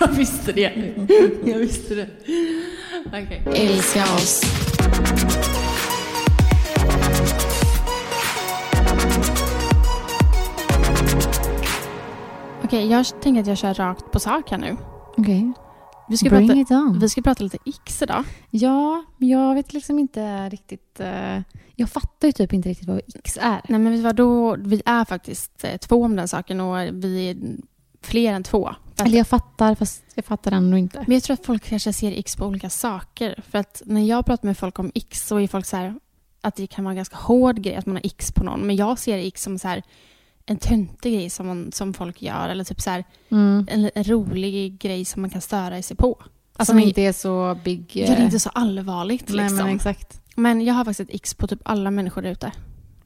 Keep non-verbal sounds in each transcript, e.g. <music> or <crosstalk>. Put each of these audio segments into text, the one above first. Jag visste det. Jag visste det. Okej. Älska oss. Okej, jag tänker att jag kör rakt på sak här nu. Okej, Vi ska, bring prata, it on. vi ska prata lite x idag. Ja, men jag vet liksom inte riktigt. eh, jag fattar ju typ inte riktigt vad X är. Nej men vet du vad, då, vi är faktiskt eh, två om den saken och vi är fler än två. <laughs> För att- Eller jag fattar, fast jag fattar ändå inte. Men jag tror att folk kanske ser X på olika saker. För att när jag pratar med folk om X så är folk så här att det kan vara en ganska hård grej att man har X på någon. Men jag ser X som så här en töntig grej som, man, som folk gör. Eller typ så här Mm. en, en rolig grej som man kan störa sig på. Alltså, som inte är så big. eh, gör det inte så allvarligt. Nej, liksom. men men, exakt. jag har faktiskt ett X på typ alla människor där ute.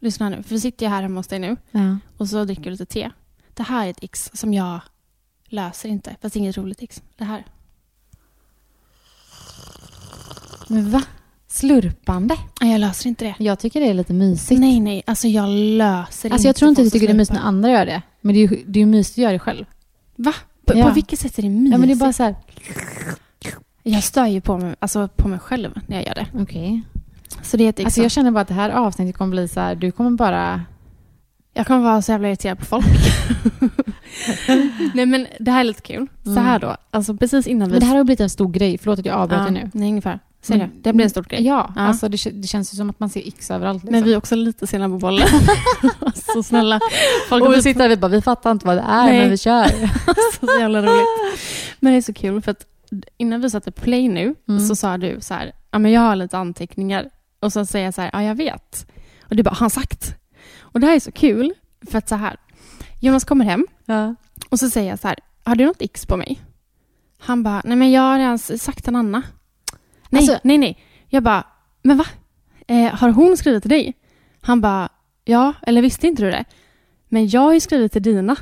Lyssna här nu, för vi sitter ju här hemma hos dig nu Ja. och så dricker vi lite te. Det här är ett X som jag löser inte, fast det är inget roligt X. Det här. Men va? Slurpande? Nej, jag löser inte det. Jag tycker det är lite mysigt. Nej, nej. Alltså jag löser Alltså jag tror inte folk du som tycker det är mysigt när snurpar. andra gör det. Men det är ju, det är ju mysigt att göra det själv. Va? På, Ja. på vilket sätt är det mysigt? Ja men det är bara så här. Jag stör ju på mig, alltså på mig själv när jag gör det. Okej. Så det är ett X. Alltså jag, jag känner bara att det här avsnittet kommer bli så här. Du kommer bara. jag kommer vara så jävla irriterad på folk. <laughs> nej, men det här är lite kul. Så Mm. här då, alltså precis innan vi... Men det här har ju blivit en stor grej. Förlåt att jag avbröt ja, dig nu. Nej, ungefär. Ser Men- du? Det blir en stor grej. Mm. Ja, Mm. Ja. Alltså det, kä- det känns ju som att man ser X överallt. Liksom. Men vi är också lite sena på bollen. <laughs> så <laughs> snälla. Folk och har vi typ sitter här och vi bara, vi fattar inte vad det är, Nej. men <laughs> vi kör. så jävla roligt. Men det är så kul för att innan vi satte play nu Mm. så sa du så här, ja men jag har lite anteckningar. Och så säger jag så här, ja jag vet. Och du bara, har han sagt? Och det här är så kul för att så här, Jonas kommer hem Ja. och så säger jag så här, har du något x på mig? Han bara, nej men jag har redan sagt en Anna. Nej, Alltså- nej, nej. Jag bara, men va? Eh, har hon skrivit till dig? Han bara, ja, eller visste inte du det? Men jag har ju skrivit till dina.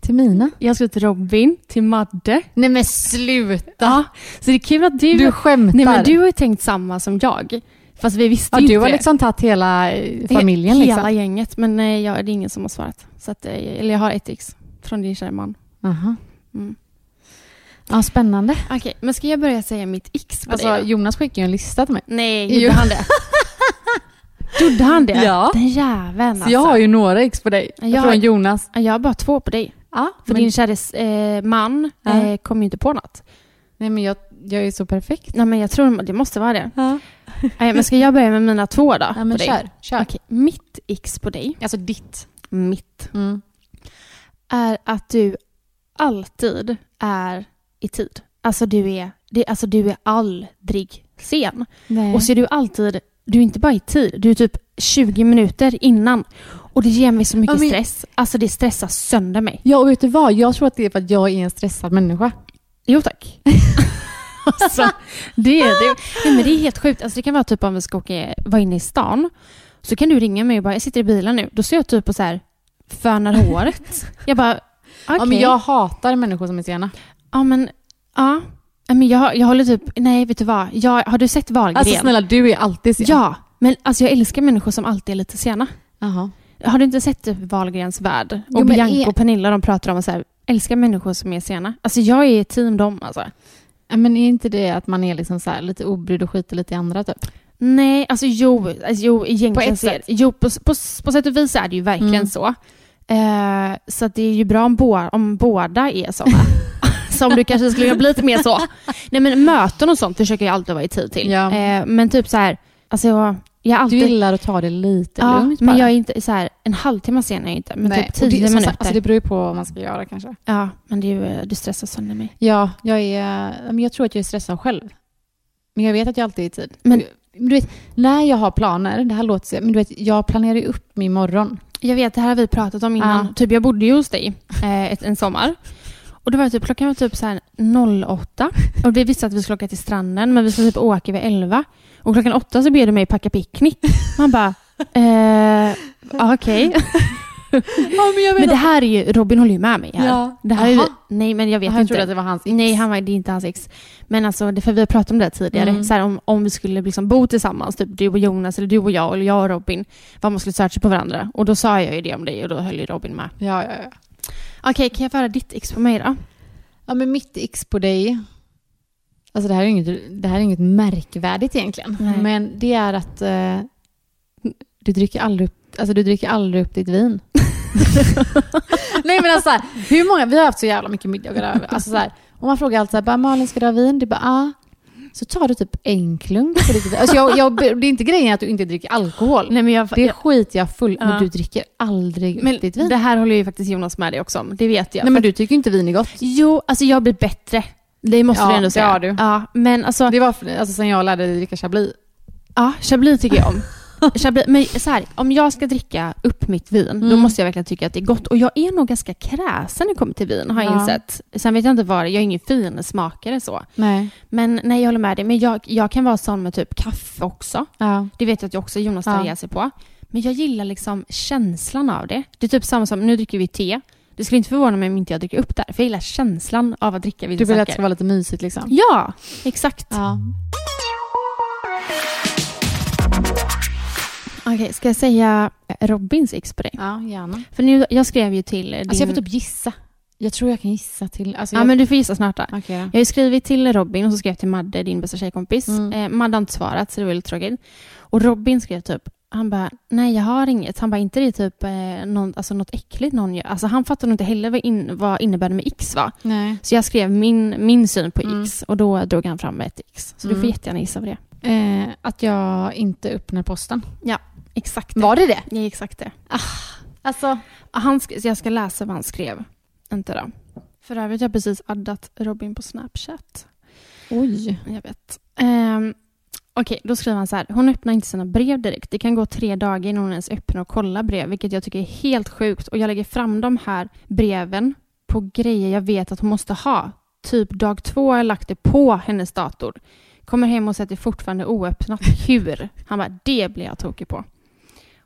Till mina. Jag har skrivit till Robin, till Madde. Nej men sluta! Ja, så det är kul att du... Du skämtar. nej, men du har ju tänkt samma som jag. Fast vi visste ja, ju du inte har det. liksom tagit hela eh, familjen. Hela Liksom. gänget. Men nej, jag, det är ingen som har svarat. Så att, eh, eller jag har ett ex från din kära man. Aha. Mm. Ja, spännande. Okej, men ska jag börja säga mitt ex på Alltså, dig då? Jonas skickade ju en lista till mig. Nej, gjorde Jo. han <laughs> det? gjorde han det? Ja. Den jäveln Så alltså. jag har ju några ex på dig. Jag- Från Jonas. Ja, Jag har bara två på dig. Ja, För men, din kära eh, man Ja. eh, kom ju inte på något. Nej men jag, jag är så perfekt. Nej, men jag tror det måste vara det. Ja, Nej, men ska jag börja med mina två då? ja men på dig? kör. kör. Okej, mitt ex på dig, Alltså ditt. mitt, Mm. är att du alltid är i tid. Alltså du är, det, alltså du är aldrig sen. Nej. Och så är du alltid, du är inte bara i tid, du är typ 20 minuter innan. Och det ger mig så mycket Ja, men- stress. Alltså det stressar sönder mig. Ja, och vet du vad? Jag tror att det är för att jag är en stressad människa. Jo <laughs> tack. alltså, det, det, nej, men det är helt sjukt. Alltså, det kan vara typ om vi ska åka, vara inne i stan. Så kan du ringa mig och bara, jag sitter i bilen nu. Då ser jag typ och så här, fönar håret. Jag bara, okej. Ja, men jag hatar människor som är sena. Ja, men, ja. Ja, men jag, jag håller typ... Nej, vet du vad? Jag, har du sett Wahlgren? Alltså snälla, du är alltid sen. Ja, men alltså, jag älskar människor som alltid är lite sena. Jaha. Har du inte sett typ Wahlgrens värld? Och Jo, men Bianca är- och Pernilla de pratar om att så här, älska människor som är sena. Alltså jag är team dem alltså. Ja, Men är inte det att man är liksom så här, lite obrydd och skiter lite i andra typ? Nej, alltså jo, alltså, jo egentligen På ett så är- sätt. Jo, på, på, på sätt och vis är det ju verkligen Mm. så. Eh, så att det är ju bra om, bo, om båda är <laughs> såna. så om du kanske skulle vilja bli lite mer så. Nej men möten och sånt försöker jag alltid vara i tid till. Ja. Eh, men typ så här, alltså jag, jag är Du alltid... gillar att ta det lite ja, lugnt men bara. jag är inte så här, en halvtimme sen är jag inte, men Nej, typ och det- tio som sagt, minuter. Alltså det beror ju på vad man ska göra kanske. Ja, men det, är ju, eh, det stressar sönder mig. Ja, jag, är, ja, men jag tror att jag är stressad själv. Men jag vet att jag alltid är i tid. Men- Men du vet, när jag har planer, det här låter så, men du vet, jag planerar ju upp min morgon. Jag vet, det här har vi pratat om innan. Ja. Typ, jag bodde ju hos dig eh, ett, en sommar. Och då var det typ, klockan var typ så här 08. Och vi visste att vi skulle åka till stranden, men vi skulle typ åka vid 11. Och klockan 8 så ber du mig packa picknick. Man bara, eh, ja, okej. Ja, men jag Men det här är ju, Robin håller ju med mig här. Ja. Det här är ju, Aha. nej, men jag vet jag trodde inte. att det var hans ex. Nej, han var, det är inte hans ex. Men alltså, det, för vi har pratat om det tidigare. Mm. Så här, om, om vi skulle liksom bo tillsammans, typ du och Jonas, eller du och jag, eller jag och Robin, vad man skulle searcha på varandra. Och då sa jag ju det om dig och då höll ju Robin med. Ja, ja, ja. Okej, kan jag föra ditt ex på mig då? ja, men mitt ex på dig. Alltså det här är inget, det här är inget märkvärdigt egentligen. Nej. Men det är att eh, du, dricker aldrig upp, alltså du dricker aldrig upp <laughs> ditt vin. Nej men alltså så här, hur många, vi har haft så jävla mycket middagar. där. Alltså så här, om man frågar alltid så här, bara, Malin ska du ha vin? Du bara ah. Så tar du typ en klunk. På ditt, vin. alltså jag, jag, det är inte grejen att du inte dricker alkohol. Nej, men jag, Det skiter jag full Ja. men du dricker aldrig upp ditt vin. men det här håller ju faktiskt Jonas med dig också om. Det vet jag. Nej men För- du tycker inte vin är gott. Jo, alltså jag blir bättre. Det måste Ja, du ändå det säga. har du. Ja, men alltså, <laughs> Det var för, alltså, sen jag lärde dig dricka chablis. ja, Chablis tycker jag <laughs> om. Chablis, men så här, om jag ska dricka upp mitt vin, då Mm. måste jag verkligen tycka att det är gott. Och jag är nog ganska kräsen när det kommer till vin, har jag Ja. insett. Sen vet jag inte vad det- jag är ingen fin smakare så. Nej. Men nej, jag håller med dig. Men jag, jag kan vara sån med typ kaffe också. Ja. Det vet jag att jag också Jonas tar Ja. ihjäl sig på. Men jag gillar liksom känslan av det. Det är typ samma som, nu dricker vi te. Det skulle inte förvåna mig om inte jag dricker upp där. För jag gillar känslan av att dricka Du vissa vill att det ska saker. vara lite mysigt liksom? Ja, exakt. Ja. Okej, ska jag säga Robins ex på dig? Ja, gärna. För nu, jag skrev ju till din... Alltså jag får typ gissa. Jag tror jag kan gissa till... Alltså, Ja, jag... men du får gissa snart då. Okej då. Jag har ju skrivit till Robin och så skrev jag till Madde, din bästa tjejkompis. Mm. Eh, Madde har inte svarat, så det var lite tråkigt. Och Robin skrev typ, han bara, nej jag har inget. Han bara, inte det är typ eh, någon, alltså något äckligt någon gör? Alltså han fattade nog inte heller vad, in, vad innebär det med X va? Nej. Så jag skrev min, min syn på Mm. X och då drog han fram ett X. Så du Mm. får jättegärna gissa på det. Eh, att jag inte öppnar posten. Exakt Var det det? Ja, exakt det. Alltså... Han sk- så jag ska läsa vad han skrev. Inte då. För övrigt har jag precis addat Robin på Snapchat. Oj. Jag vet. Ehm, Okej, då skriver han så här. Hon öppnar inte sina brev direkt. Det kan gå tre dagar innan hon ens öppnar och kollar brev, vilket jag tycker är helt sjukt. Och jag lägger fram de här breven på grejer jag vet att hon måste ha. Typ dag två har jag lagt det på hennes dator. Kommer hem och ser att det fortfarande är oöppnat. Hur? Han bara, det blir jag tokig på.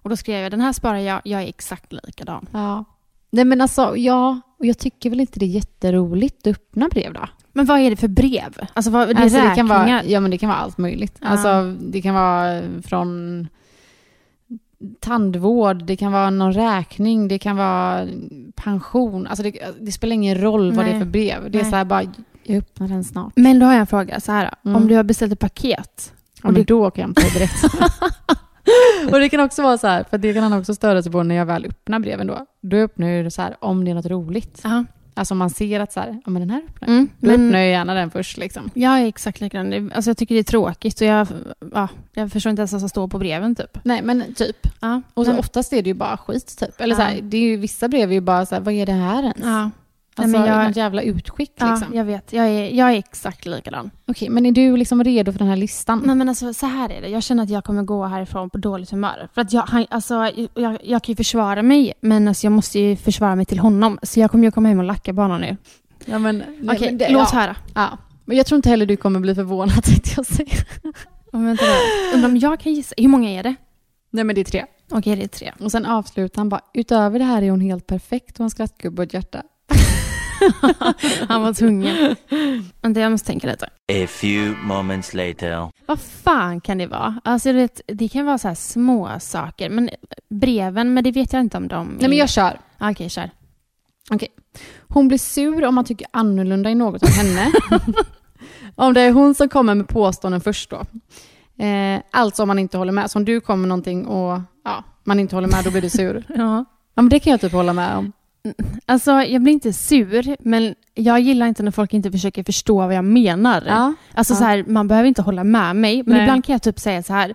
Och då skrev jag, den här sparar jag, jag är exakt likadan. Ja. Nej men alltså, ja. Och jag tycker väl inte det är jätteroligt att öppna brev då? Men vad är det för brev? Alltså, vad, det, alltså, är det kan vara, räkningar. Ja men det kan vara allt möjligt. Ja. Alltså det kan vara från tandvård, det kan vara någon räkning, det kan vara pension. Alltså det, det spelar ingen roll vad det Nej. är för brev. Det är Nej. så här bara, jag öppnar den snart. Men då har jag en fråga, så här, Mm. om du har beställt ett paket, Och men då åker han på direkt. <laughs> och det kan också vara så här, för det kan han också störa sig på när jag väl öppnar breven då. Då öppnar jag ju så här om det är något roligt. Ja. Alltså om man ser att så här, ja men den här öppnar jag. Mm, Då öppnar men jag gärna den först liksom. jag är exakt likadan. Det- Alltså jag tycker det är tråkigt och jag, ja, jag förstår inte ens vad som står på breven typ. Nej men typ. Ja, Och så men, oftast är det ju bara skit typ. Eller så här, Mm. Ja. det är ju, vissa brev är ju bara så här, vad är det här ens? ja, Alltså men jag- något jävla utskick ja liksom. jag vet. Jag är, jag är exakt likadan. Okej, men är du liksom redo för den här listan? Nej, men alltså, så här är det. Jag känner att jag kommer gå härifrån på dåligt humör. För att jag, han, alltså, jag, jag kan ju försvara mig, men alltså, jag måste ju försvara mig till honom. Så jag kommer ju komma hem och lacka banan nu. Ja, men, Okej, men det- låt ja. höra. Ja. Men jag tror inte heller du kommer bli förvånad <laughs> tänkte jag säga. Och vänta där. Undrar om jag kan gissa. Hur många är det? Nej men det är tre. Okej, det <laughs> är tre. <laughs> Och sen avslutar han bara, utöver det här är hon helt perfekt och en skrattgubbe och ett hjärta. <laughs> Han var tvungen. Men det jag måste tänka lite. A few moments later. Vad fan kan det vara? Alltså, du vet, det kan vara så här små saker. Men breven, men det vet jag inte om de... Nej men jag kör. Ah, Okej, kör. Hon blir sur om man tycker annorlunda i något om <laughs> henne. om det är hon som kommer med påståenden först då. Eh, alltså om man inte håller med. Så om du kommer med någonting och ja, man inte håller med, då blir du sur. Ja. <laughs> Ja, men det kan jag typ hålla med om. Alltså, jag blir inte sur, men jag gillar inte när folk inte försöker förstå vad jag menar. Alltså Ja. så här, man behöver inte hålla med mig, men Nej. ibland kan jag typ säga så här.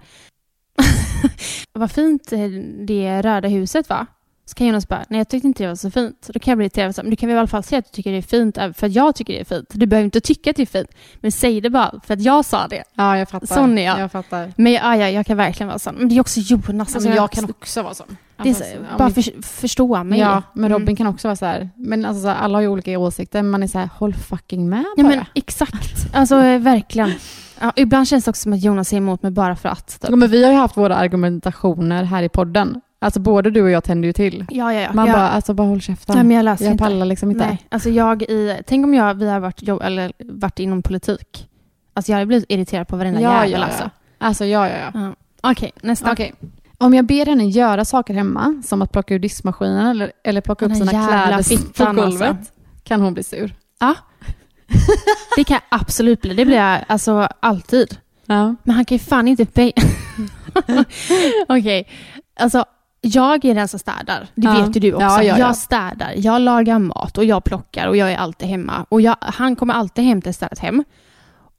<laughs> Vad fint eh, det röda huset var. Så kan Jonas bara, nej jag tyckte inte det var så fint. Då kan jag bli irriterad. Så här, Men du kan väl i alla fall säga att du tycker det är fint, även för att jag tycker det är fint. Du behöver inte tycka att det är fint, men säg det bara för att jag sa det. Ja, jag fattar. Sån är jag. jag fattar. Men ja, ja, jag kan verkligen vara sån. Men det är också Jonas. Alltså, jag kan också vara sån. det är så, Alltså, ja, bara men- för, förstå mig. Ja, men Robin Mm. kan också vara så här. Men alltså, så här, alla har ju olika åsikter, men man är så här, håll fucking med Ja, bara. men exakt. Alltså eh, verkligen. Ja, ibland känns det också som att Jonas är emot mig bara för att. Typ. Ja, men vi har ju haft våra argumentationer här i podden. Alltså både du och jag tänder ju till. Ja, ja, ja. Man jag, bara, alltså bara håll käften. nej, men jag läser jag inte. pallar liksom inte. Nej, alltså jag i, tänk om jag, vi har varit, jobb, eller varit inom politik. Alltså jag hade blivit irriterad på varenda Ja, jävel ja, alltså. ja. Alltså ja, ja, ja. Ja. Okej, nästa. Okej. Om jag ber henne göra saker hemma, som att plocka ur diskmaskinen eller, eller plocka upp Den här sina jävla kläder på fittan, golvet, alltså. kan hon bli sur. Det kan jag absolut bli. Det blir jag alltså alltid. Ja. Men han kan ju fan inte... be- <laughs> Okej. Alltså, jag är den som städar. Det Ja. vet ju du också. Ja, ja, ja. Jag städar, jag lagar mat och jag plockar och jag är alltid hemma. Och jag, han kommer alltid hem till ett städat hem.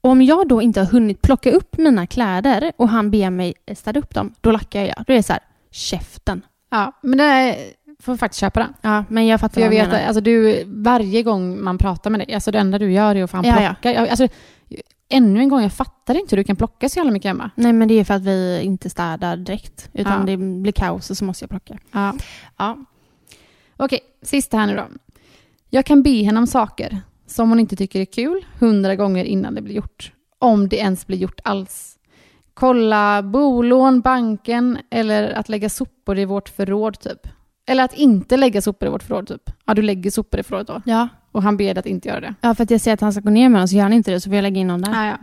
Om jag då inte har hunnit plocka upp mina kläder och han ber mig städa upp dem, då lackar jag. Då är det så här, käften. ja, men det är, får faktiskt köpa den. Ja, men jag fattar För jag vad du vet, menar. alltså du, varje gång man pratar med dig, alltså det enda du gör är att fan Ja, ja. plocka. Jag, alltså, ännu en gång, jag fattar inte hur du kan plocka så jävla mycket hemma. Nej, men det är för att vi inte städar direkt. Utan Ja. det blir kaos och så måste jag plocka. Ja. Ja. Okej, sista här nu då. Jag kan be henne om saker som hon inte tycker är kul hundra gånger innan det blir gjort. Om det ens blir gjort alls. Kolla bolån, banken eller att lägga sopor i vårt förråd typ. Eller att inte lägga sopor i vårt förråd typ. Ja, du lägger sopor i förrådet då. Ja. Och han ber dig att inte göra det. ja, för att jag säger att han ska gå ner med dem så gör han inte det så vill jag lägga in honom där. Ah, ja.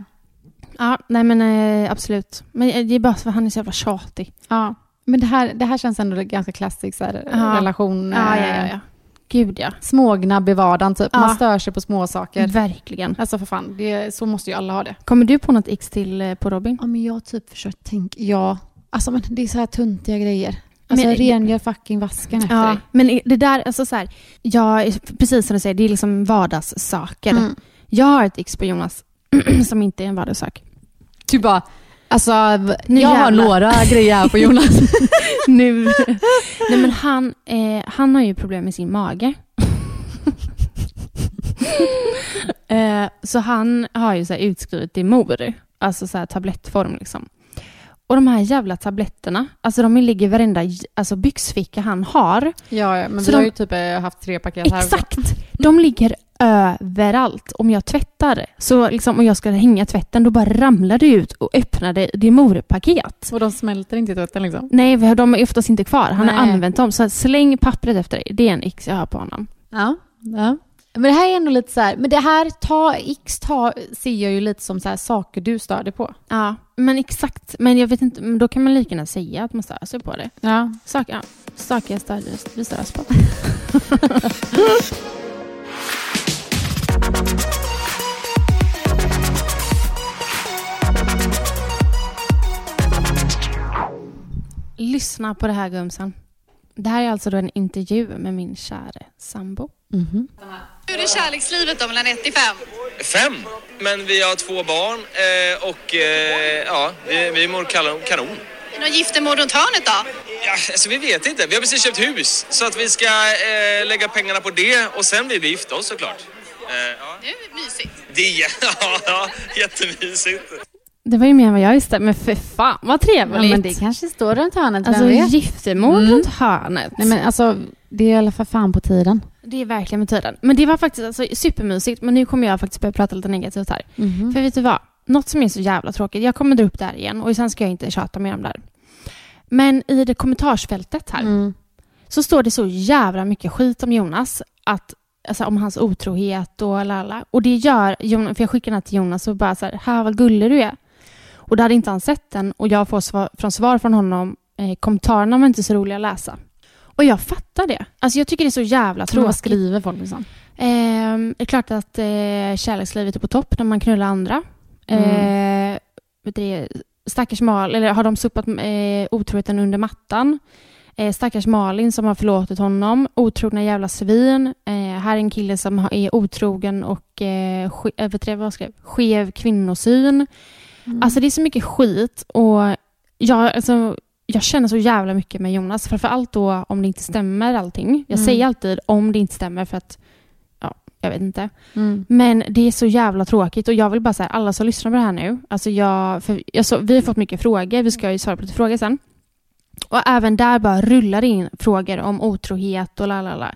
Ja, nej men eh, absolut. Men eh, det är bara för att han är så jävla tjatig. ja. Men det här, det här känns ändå ganska klassisk så här, Ja. relation. eh, Gud ja. Smågnabb i vardagen typ. Man Ja. stör sig på små saker. Verkligen. Alltså för fan, det, så måste ju alla ha det. Kommer du på något ex till eh, på Robin? Ja, men jag typ försökt tänka, ja. Alltså men det är så här tuntiga grejer. Alltså Men- jag rengör fucking vasken efter Ja, dig. men i- det där, alltså så här, jag, precis som du säger, det är liksom vardagssaker. Mm. Jag har ett ex på Jonas <clears throat> som inte är en vardagssak. Typ bara, alltså v- Nu jag har jävlar. några grejer här på Jonas. <laughs> nu. Nej men han, eh, han har ju problem med sin mage. eh, så han har ju så här utskrivet Dimor, alltså så här tablettform liksom. Och de här jävla tabletterna, alltså de ligger i varenda j- alltså byxficka han har. ja, ja, men Så vi har de- ju typ eh, haft tre paket här. Exakt! De ligger överallt. Om jag tvättar, så liksom, och jag ska hänga tvätten, då bara ramlar det ut och öppnar det Dimor-paket. Och de smälter inte i tvätten liksom. Nej, för de är oftast inte kvar. Han har Nej. använt dem. Så släng pappret efter dig. Det är en x jag har på honom. Ja, ja. Men det här är ändå lite så här, men det här ta, X ta, ser jag ju lite som så här, saker du stör dig på. Ja, men exakt. Men jag vet inte, men då kan man lika gärna säga att man stör sig på det. Ja. Saker, ja. Saker jag stör, vi stör oss på. <laughs> Lyssna på det här gumsan. Det här är alltså då en intervju med min käre sambo. Hur är kärlekslivet då mellan 1 till 5? Fem! Men vi har två barn eh, och eh, ja, vi, vi mår kanon. kanon. Någon giftermål runt hörnet då? Ja, alltså, vi vet inte. Vi har precis köpt hus så att vi ska eh, lägga pengarna på det och sen vill vi gifta oss såklart. Eh, ja. Det är mysigt. Det är <laughs> ja, jättemysigt. Det var ju mer än vad jag visste, men för fan vad Ja, trevligt. men det kanske står runt hörnet, alltså vem vet? Mm. giftermål runt hörnet. Nej men alltså, det är i alla fall fan på tiden. Det är verkligen med tiden. Men det var faktiskt alltså, supermysigt, men nu kommer jag faktiskt börja prata lite negativt här. Mm. Mhm. För vet du vad? Något som är så jävla tråkigt, jag kommer dra upp det här igen och sen ska jag inte tjata mer om det här. Men i Mm. det kommentarsfältet här så står det så jävla mycket skit om Jonas att alltså, om hans otrohet och lalla. Och det gör Jonas, för jag skickar den här till Jonas och bara så här, här vad gullig du är. Och då hade inte han sett den och jag får svar, från svar från honom, eh, kommentarerna var inte så roliga att läsa. Och jag fattar det. Alltså jag tycker det är så jävla Tror vad tråkigt. skriver folk liksom? Ehm, det är klart att eh, kärlekslivet är på topp när man knullar andra. Mm. Eh, vet du det, stackars Malin, eller har de sopat eh, otroheten under mattan? Eh, stackars Malin som har förlåtit honom. Otrogna jävla svin. Eh, här är en kille som har- är otrogen och eh, ske, eh, vet du det, vad jag skrev? skev kvinnosyn. Alltså det är så mycket skit och jag, alltså, jag känner så jävla mycket med Jonas. Framförallt då om det inte stämmer allting. Jag Mm. säger alltid om det inte stämmer för att ja, jag vet inte. Mm. Men det är så jävla tråkigt och jag vill bara säga alla som lyssnar på det här nu. Alltså jag, för jag så, vi har fått mycket frågor, vi ska ju svara på lite frågor sen. Och även där bara rullar det in frågor om otrohet och lalala.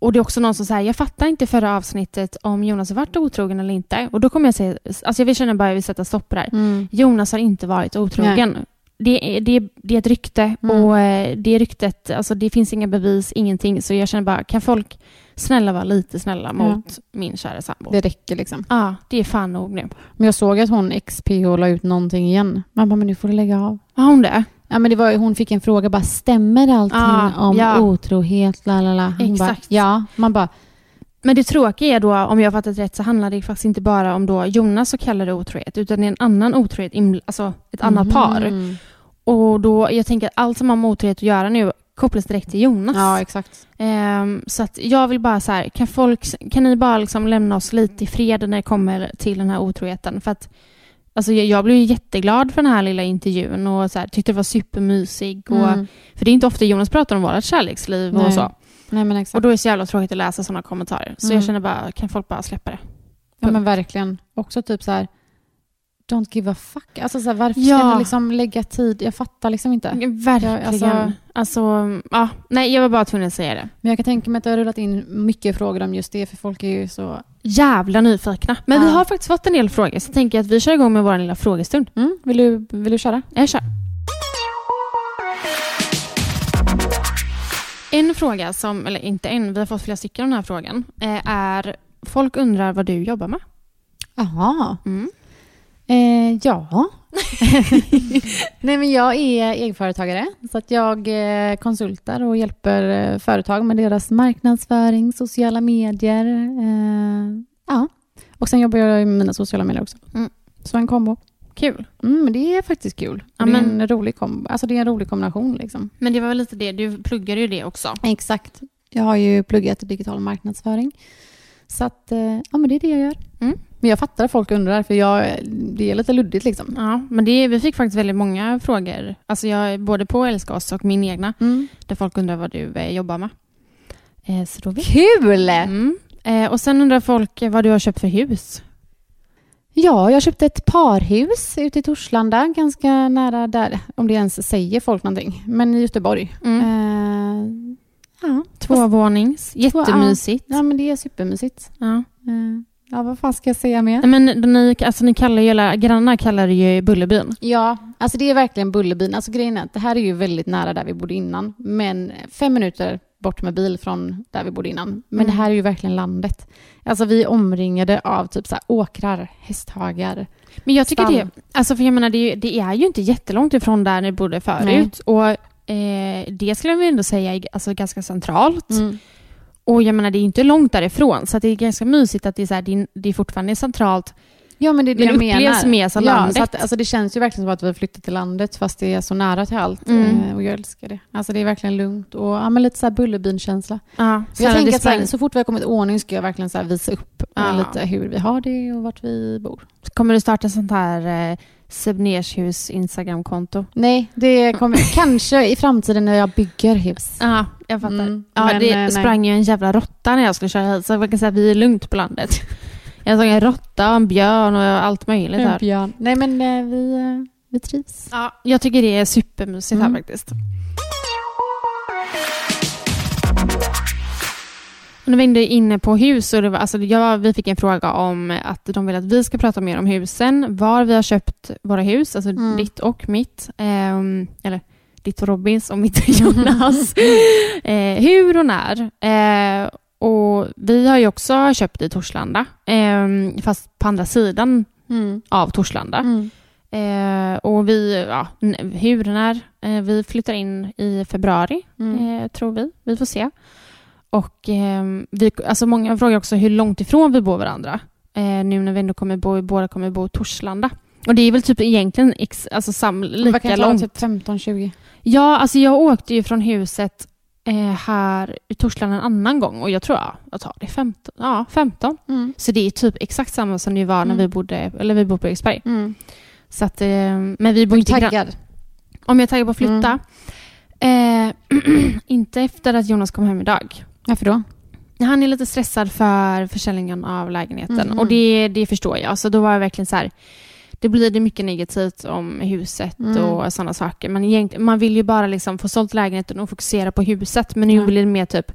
Och det är också någon som säger, jag fattar inte förra avsnittet om Jonas har varit otrogen eller inte. Och då kommer jag säga, alltså jag vill känna bara jag vill sätta stopp på Mm. det här. Jonas har inte varit otrogen. Det är, det, är, det är ett rykte Mm. och eh, det ryktet, alltså det finns inga bevis, ingenting. Så jag känner bara, kan folk snälla vara lite snälla mot min kära sambo? Det räcker liksom. Ja, det är fan nog nu. Men jag såg att hon XPH la ut någonting igen. Man bara, men nu får du lägga av. Har hon det? Ja, men det var, ju- hon fick en fråga, bara, stämmer allting Ja, Ah, om ja. otrohet? La, la, la. Hon Exakt. Bara, ja, man bara, Men det tråkiga är då, om jag har fattat rätt, så handlar det faktiskt inte bara om då Jonas så kallade otrohet, utan det är en annan otrohet, inbl- alltså ett annat par. Mm. Och då, jag tänker att allt som har med otrohet att göra nu kopplas direkt till Jonas. Ja, exakt. Ehm, så att jag vill bara så här, kan, folk, kan ni bara liksom lämna oss lite i fred när det kommer till den här otroheten? För att, alltså, jag, jag blev ju jätteglad för den här lilla intervjun och så här, tyckte det var supermysig. Och, Mm. För det är inte ofta Jonas pratar om vårt kärleksliv Nej, och så. Nej, men Och exakt. då är det så jävla tråkigt att läsa sådana kommentarer. Så Mm. jag känner bara, kan folk bara släppa det? ja, men verkligen. Också typ så här, don't give a fuck. Alltså, så här, varför ska Ja. Mm. du liksom lägga tid? Jag fattar liksom inte. Verkligen. alltså- Alltså, ja, nej, jag var bara tvungen att säga det. Men jag kan tänka mig att det har rullat in mycket frågor om just det, för folk är ju så... Jävla nyfikna. Men vi Ja. har faktiskt fått en del frågor, så jag tänker att vi kör igång med vår lilla frågestund. Mm, vill, du, vill du köra? Jag kör. En fråga som, eller inte en, vi har fått flera stycken av den här frågan, eh, är folk undrar vad du jobbar med. Jaha. Mm. Eh, <laughs> ja. Nej, men jag är egenföretagare, så att jag eh, konsultar och hjälper eh, företag med deras marknadsföring, sociala medier. Eh, ja. Och sen jobbar jag med mina sociala medier också. Mm. Så en kombo. Kul. Mm, men det är faktiskt kul. Ja, det, är men- en rolig kom- alltså, det är en rolig kombination. Liksom. Men det var väl lite det, du pluggade ju det också. Exakt. Jag har ju pluggat digital marknadsföring. Så att, eh, ja, men det är det jag gör. Mm. Men jag fattar att folk undrar, för jag, det är lite luddigt. Liksom. Ja, men det, vi fick faktiskt väldigt många frågor. Alltså jag, både på Älska oss och min egna, Mm. där folk undrar vad du eh, jobbar med. Eh, så då vet Kul! mm. eh, Och sen undrar folk eh, vad du har köpt för hus. Ja, jag köpte ett parhus ute i Torslanda, ganska nära där, om det ens säger folk någonting, men i Göteborg. Mm. Eh, ja. Tvåvånings, jättemysigt. ja, men det är supermysigt. Ja. Eh, ja, vad fan ska jag säga mer? Nej, Men ni, alltså, ni kallar ju, alla- grannar kallar det ju Bullerbyn. Ja, alltså det är verkligen Bullerbyn. Alltså grejen är att det här är ju väldigt nära där vi bodde innan, men fem minuter bort med bil från där vi bodde innan. Men Mm. det här är ju verkligen landet. Alltså vi är omringade av typ så här åkrar, hästhagar. Men jag tycker Stam. det, alltså för jag menar, det, är ju, det är ju inte jättelångt ifrån där ni bodde förut. Och eh, det skulle jag väl ändå säga är alltså, ganska centralt. Och jag menar, det är ju inte långt därifrån. Så att det är ganska mysigt att det är, så här, det är, det är fortfarande centralt. Ja, men det är det Men jag upplevs menar. mer som ja, landet. Så att, alltså det känns ju verkligen som att vi har flyttat till landet fast det är så nära till allt. Mm. Eh, och jag älskar det. Alltså det är verkligen lugnt och ja, men lite så här Bullerbyn-känsla. Ja, Så jag tänker att så, sprang, här, så fort vi har kommit i ordning ska jag verkligen så här visa upp eh, Ja. lite hur vi har det och vart vi bor. Kommer du starta sånt här eh, Sebnershus Instagramkonto? Nej, det <laughs> kommer kanske i framtiden när jag bygger hus. Ja, jag fattar. Mm. Ja, Men, det eh, nej. sprang ju en jävla råtta när jag skulle köra hit. Så man kan säga att vi är lugnt på landet. <laughs> Jag såg en råtta och en björn och allt möjligt här. Björn. Nej, men eh, vi, eh, vi trivs. Ja, jag tycker det är supermysigt Mm. här faktiskt. Och Nu var jag inne på hus och det var, alltså jag, vi fick en fråga om att de vill att vi ska prata mer om husen, var vi har köpt våra hus, alltså Mm. ditt och mitt, ehm, eller <laughs> <laughs> ditt och Robins och mitt och Jonas. eh, hur och när. Eh, Och vi har ju också köpt i Torslanda, ehm, fast på andra sidan Mm. av Torslanda. Mm. Eh, och vi, ja, n- hur, när? Eh, vi flyttar in i februari, Mm. eh, tror vi. Vi får se. Och eh, vi, alltså många frågar också hur långt ifrån vi bor varandra. Eh, nu när vi ändå kommer bo, båda kommer bo i Torslanda. Och det är väl typ egentligen ex, alltså sam, Man kan lika ta långt. typ 15-20. Ja, alltså jag åkte ju från huset eh, här i Torslanda en annan gång och jag tror ja, jag tar det 15. Ja, 15. Mm. Så det är typ exakt samma som det var när Mm. vi bodde, eller vi bor på Eriksberg. Mm. Så att, eh, men vi bor inte grann- Taggad. Om jag är taggad på att Mm. flytta? Eh, <clears throat> inte efter att Jonas kom hem idag. Varför då? Han är lite stressad för försäljningen av lägenheten Mhm. och det, det förstår jag. Så då var jag verkligen så här, det blir det mycket negativt om huset Mm. och sådana saker. Men egentligen, man vill ju bara liksom få sålt lägenheten och fokusera på huset. Men nu Ja. blir det mer typ,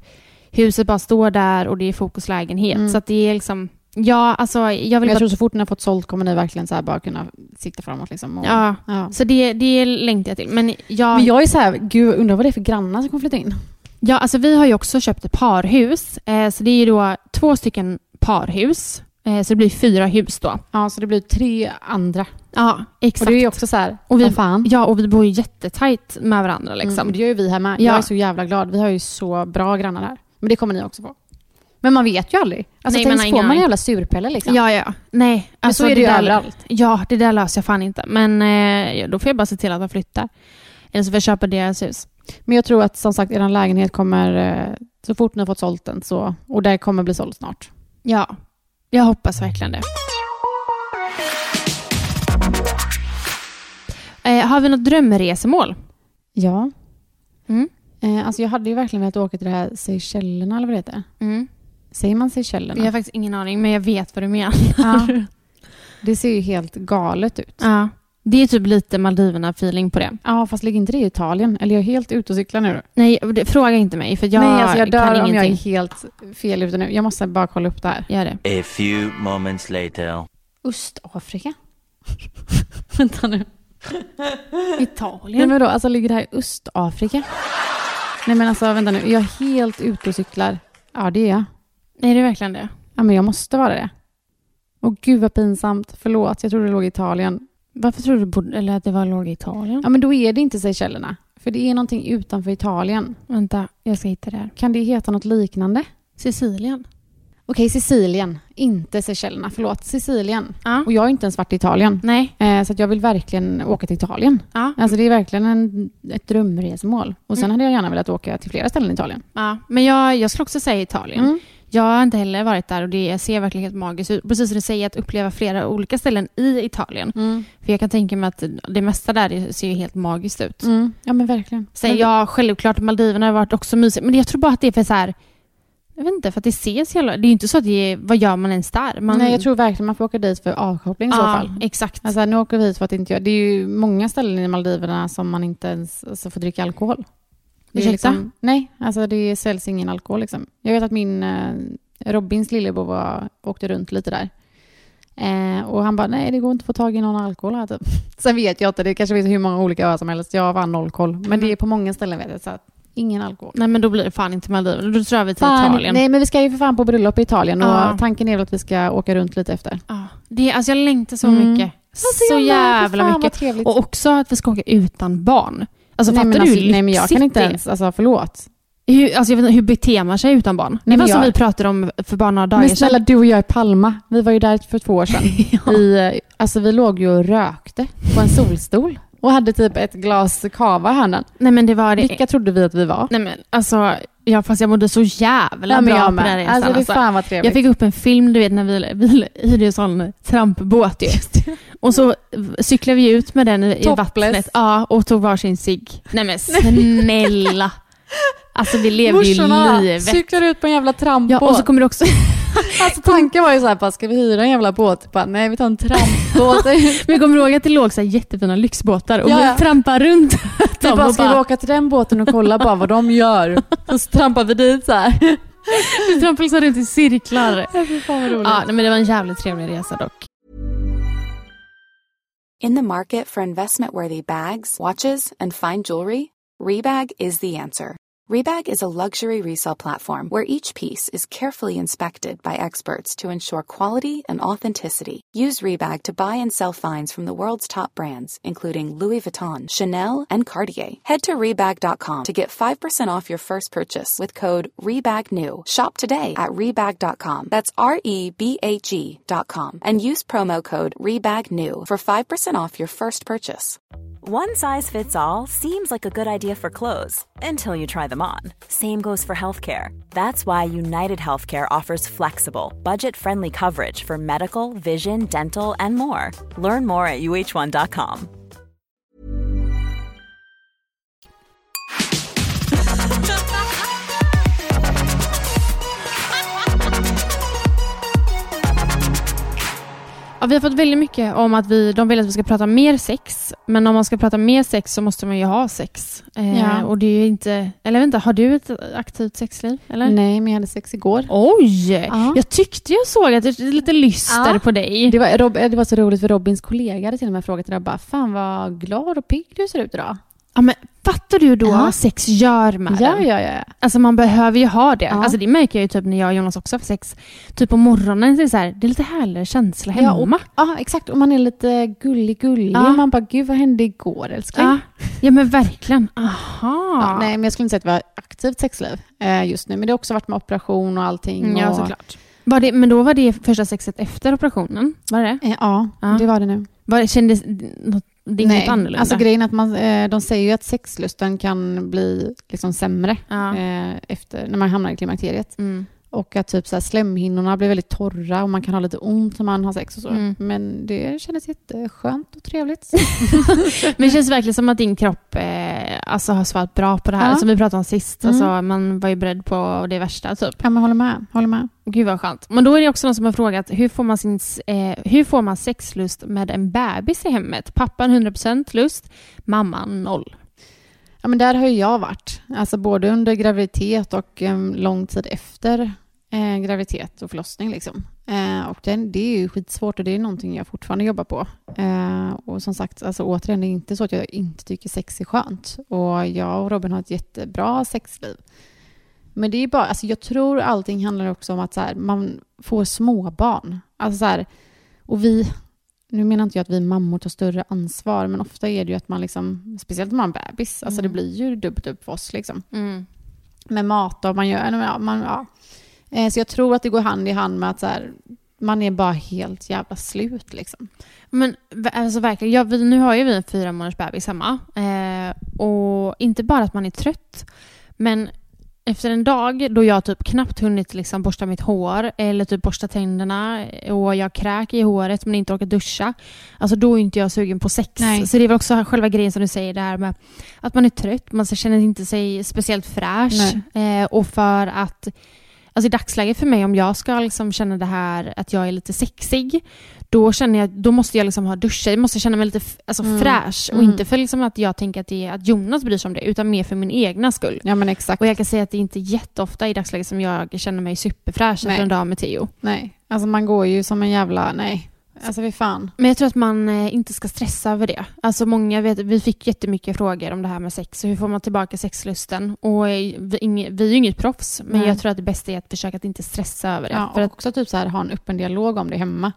huset bara står där och det är fokus lägenhet. Mm. Så att det är liksom, ja alltså jag Men vill jag bara... tror så fort ni har fått sålt kommer ni verkligen så här bara kunna sikta framåt. Liksom och, ja, Ja. så det, det längtar jag till. Men jag... Men jag är så här, gud undrar vad det är för grannar som kommer flytta in. Ja, alltså vi har ju också köpt ett parhus. Eh, så det är ju då två stycken parhus. Eh, så det blir fyra hus då. Ja, så det blir tre andra. Ja, Och exakt. det är ju också så här, Och och vi- vi, fan. Ja, och vi bor ju jättetajt med varandra liksom. Mm, och det gör ju vi här med. Jag Ja. är så jävla glad. Vi har ju så bra grannar här. Men det kommer ni också få. Men man vet ju aldrig. Alltså Nej, man tänk har så ingen får man en aning. jävla surpelle liksom. Ja, alltså, ja, ja. Nej. Men så är det ju överallt. Ja, det där löser jag fan inte. Men eh, ja, då får jag bara se till att jag flyttar. Eller så får jag köpa deras hus. Men jag tror att som sagt, er lägenhet kommer, eh, så fort ni har fått sålt den, så, och det kommer bli såld snart. Ja, jag hoppas verkligen det. Eh, har vi något drömresemål? Ja. Mm. Eh, alltså jag hade ju verkligen velat åka till det här Seychellerna, eller vad det heter. Säger man Jag Seychellerna? har faktiskt ingen aning, men jag vet vad du menar. <laughs> Ja. Det ser ju helt galet ut. Ja. Det är typ lite Maldiverna-feeling på det. Ja, fast ligger inte det i Italien? Eller jag är helt ute och cyklar nu. Nej, det- fråga inte mig för jag, Nej, alltså jag dör kan om jag är ingenting. helt fel ute nu. Jag måste bara kolla upp det här. Gör det. A few moments later. Östafrika? Vänta nu. Nej Italien? men då, alltså ligger det här i Östafrika? Nej men alltså vänta nu, jag är helt ute och cyklar. Ja det är jag. Är det verkligen det? Ja men jag måste vara det. Och gud vad pinsamt, förlåt, jag trodde det låg i Italien. Varför tror du bod- eller att det var låg i Italien? Ja men då är det inte Seychellerna. För det är någonting utanför Italien. Vänta, jag ska hitta det här. Kan det heta något liknande? Sicilien? Okej, Sicilien. Inte Seychellerna, förlåt. Sicilien. Ja. Och jag har inte ens varit i Italien. Nej. Eh, så att jag vill verkligen åka till Italien. Ja. Alltså det är verkligen en, ett drömresmål. Och sen hade jag gärna velat åka till flera ställen i Italien. ja. Men jag, jag skulle också säga Italien. Mm. Jag har inte heller varit där och det ser verkligen helt magiskt ut. Precis som du säger, att uppleva flera olika ställen i Italien. Mm. För jag kan tänka mig att det mesta där ser ju helt magiskt ut. Mm. Ja men verkligen. Sen, Men- ja, självklart Maldiverna har varit också mysigt. Men jag tror bara att det är för så här... Jag vet inte, för att det ses jävla... Det är ju inte så att det är... Vad gör man ens där? Man, Nej, jag tror verkligen man får åka dit för avkoppling i så Ja, fall. exakt. Alltså, nu åker vi hit för att inte göra... Det är ju många ställen i Maldiverna som man inte ens alltså, får dricka alkohol. Det är Ursäkta? liksom, nej, alltså det säljs ingen alkohol. Liksom. Jag vet att min eh, Robins lillebror var, åkte runt lite där. Eh, och han bara, nej det går inte att få tag i någon alkohol här typ. <laughs> Sen vet jag inte, det kanske finns hur många olika öar som helst. Jag har bara noll koll. Men det är på många ställen vet jag, så att ingen alkohol. Nej, men då blir det fan inte Maldiverna. Då drar vi till Fan, Italien. Nej men vi ska ju för fan på bröllop i Italien och Ja. tanken är väl att vi ska åka runt lite efter. Ja, det, alltså jag längtar så Mm. mycket. Alltså, så jag med, för fan, jävla vad mycket. trevligt. Och också att vi ska åka utan barn. Alltså nej, fattar men du alltså, hur Nej men jag lyxigt kan inte det är? ens, alltså förlåt. Hur, alltså jag vet inte, hur beter man sig utan barn? det men var som jag- vi pratade om för bara några dagar Men snälla du och jag i Palma, vi var ju där för två år <laughs> sedan. vi, eh, alltså, vi låg ju och rökte på en solstol och hade typ ett glas cava i handen. Nej men det var det. Vilka trodde vi att vi var? Nej men alltså, ja, fast jag mådde så jävla Ja, men bra jag på den här med. resan. Alltså det alltså. fan vad trevligt. Jag fick upp en film, du vet, när vi, vi hyrde en sån trampbåt ju. Och så cyklade vi ut med den i i Topless. vattnet ja, och tog varsin cigg. Nej men snälla! Alltså vi levde ju Morsorna livet. cyklar ut på en jävla trampbåt. Ja, och så kommer det också, alltså, tanken var ju så här, bara, ska vi hyra en jävla båt? Bara, nej, vi tar en <laughs> trampbåt. men kommer du ihåg att det låg så här jättefina lyxbåtar och Ja, ja. vi trampade runt vi dem bara, och ska vi bara, åka till den båten och kolla bara vad de gör? Så trampar vi dit så här. vi trampade liksom runt i cirklar. Fy fan vad roligt. Ja, nej, men det var en jävligt trevlig resa dock. In the market for investment worthy bags, watches, and fine jewelry, Rebag is the answer. Rebag is a luxury resale platform where each piece is carefully inspected by experts to ensure quality and authenticity. Use Rebag to buy and sell finds from the world's top brands, including Louis Vuitton, Chanel, and Cartier. Head to Rebag.com to get 5% off your first purchase with code REBAGNEW. Shop today at Rebag.com. That's R E B A G.com. And use promo code REBAGNEW for 5% off your first purchase. One size fits all seems like a good idea for clothes until you try them on. Same goes for healthcare. That's why United Healthcare offers flexible, budget friendly coverage for medical, vision, dental, and more. Learn more at uh1.com. Ja, vi har fått väldigt mycket om att vi, de vill att vi ska prata mer sex. Men om man ska prata mer sex så måste man ju ha sex. Eh, Ja. Och det är ju inte... Eller vänta, har du ett aktivt sexliv? Eller? <laughs> Nej, men jag hade sex igår. Oj! Ja. Jag tyckte jag såg att det är lite lyster Ja. på dig. Det var, Rob, det var så roligt för typ Robins kollega hade till och med frågat idag bara, fan vad glad och pigg du ser ut idag. Ja, men fattar du då Ja. vad sex gör med Ja, en? ja, ja. Alltså man behöver ju ha det. Ja. Alltså det märker jag ju typ när jag och Jonas också har sex. Typ på morgonen så är det så här, det är lite härligare känsla Ja, och- hemma. Ja, exakt. Och man är lite gullig, gullig. Ja. Man bara, gud vad hände igår älskling? Ja, ja men verkligen. Aha. Ja, nej, men jag skulle inte säga att vi har ett aktivt sexliv eh, just nu. Men det har också varit med operation och allting. Mm, ja, och, såklart. Var det, men då var det första sexet efter operationen? Var det Eh, ja, Ja. det var det nu. var, det- Kändes något, det inget annorlunda? Alltså grejen är att man, eh, de säger ju att sexlusten kan bli liksom sämre ja. eh, efter, när man hamnar i klimakteriet. mm. Och att typ så här, slemhinnorna blir väldigt torra och man kan ha lite ont när man har sex och så. Mm. Men det kändes jätteskönt och trevligt. Men det känns verkligen som att din kropp eh, alltså, har svarat bra på det här Ja. som vi pratade om sist. Mm. Alltså, man var ju beredd på det värsta typ. ja, men håller med. Håller med. Gud vad skönt. Men då är det också någon som har frågat, hur får man, sin, eh, hur får man sexlust med en bebis i hemmet? Pappan 100% lust, mamman noll. Ja, men där har ju jag varit. Alltså både under graviditet och em, lång tid efter eh, graviditet och förlossning. Liksom. Eh, och den, det är ju skitsvårt och det är någonting jag fortfarande jobbar på. Eh, och som sagt, alltså, återigen, det är inte så att jag inte tycker sex är skönt. Och jag och Robin har ett jättebra sexliv. Men det är bara, alltså jag tror allting handlar också om att så här, man får småbarn. Alltså så här, och vi, nu menar inte jag att vi mammor tar större ansvar, men ofta är det ju att man liksom, speciellt om man har en bebis, alltså Mm. det blir ju dubbelt upp för oss liksom. Med mat och man gör, ja, man, ja. Eh, Så jag tror att det går hand i hand med att så här, man är bara helt jävla slut liksom. Men v- alltså verkligen, ja, vi, nu har ju vi en fyra månaders bebis hemma. Eh, och inte bara att man är trött, men efter en dag då jag typ knappt hunnit liksom borsta mitt hår eller typ borsta tänderna eh, och jag kräk i håret men inte orkar duscha. Alltså då är inte jag sugen på sex. Nej. Så det är väl också själva grejen som du säger där med att man är trött, man så känner inte sig speciellt fräsch. Eh, och för att Alltså i dagsläget för mig, om jag ska liksom känna det här att jag är lite sexig, då, känner jag, då måste jag liksom ha duschat. Jag måste känna mig lite f- alltså Mm. fräsch. Och Mm. inte för liksom att jag tänker att, det är, att Jonas bryr sig om det, utan mer för min egna skull. Ja men exakt. Och jag kan säga att det är inte jätteofta i dagsläget som jag känner mig superfräsch Nej. efter en dag med Theo. Nej, alltså man går ju som en jävla, nej. Alltså fy fan. Men jag tror att man eh, inte ska stressa över det. Alltså många vet, vi fick jättemycket frågor om det här med sex och hur får man tillbaka sexlusten? Och eh, vi, inge, vi är ju inget proffs, men Nej. jag tror att det bästa är att försöka att inte stressa över det. Ja, och för att, också typ så här, ha en öppen dialog om det hemma.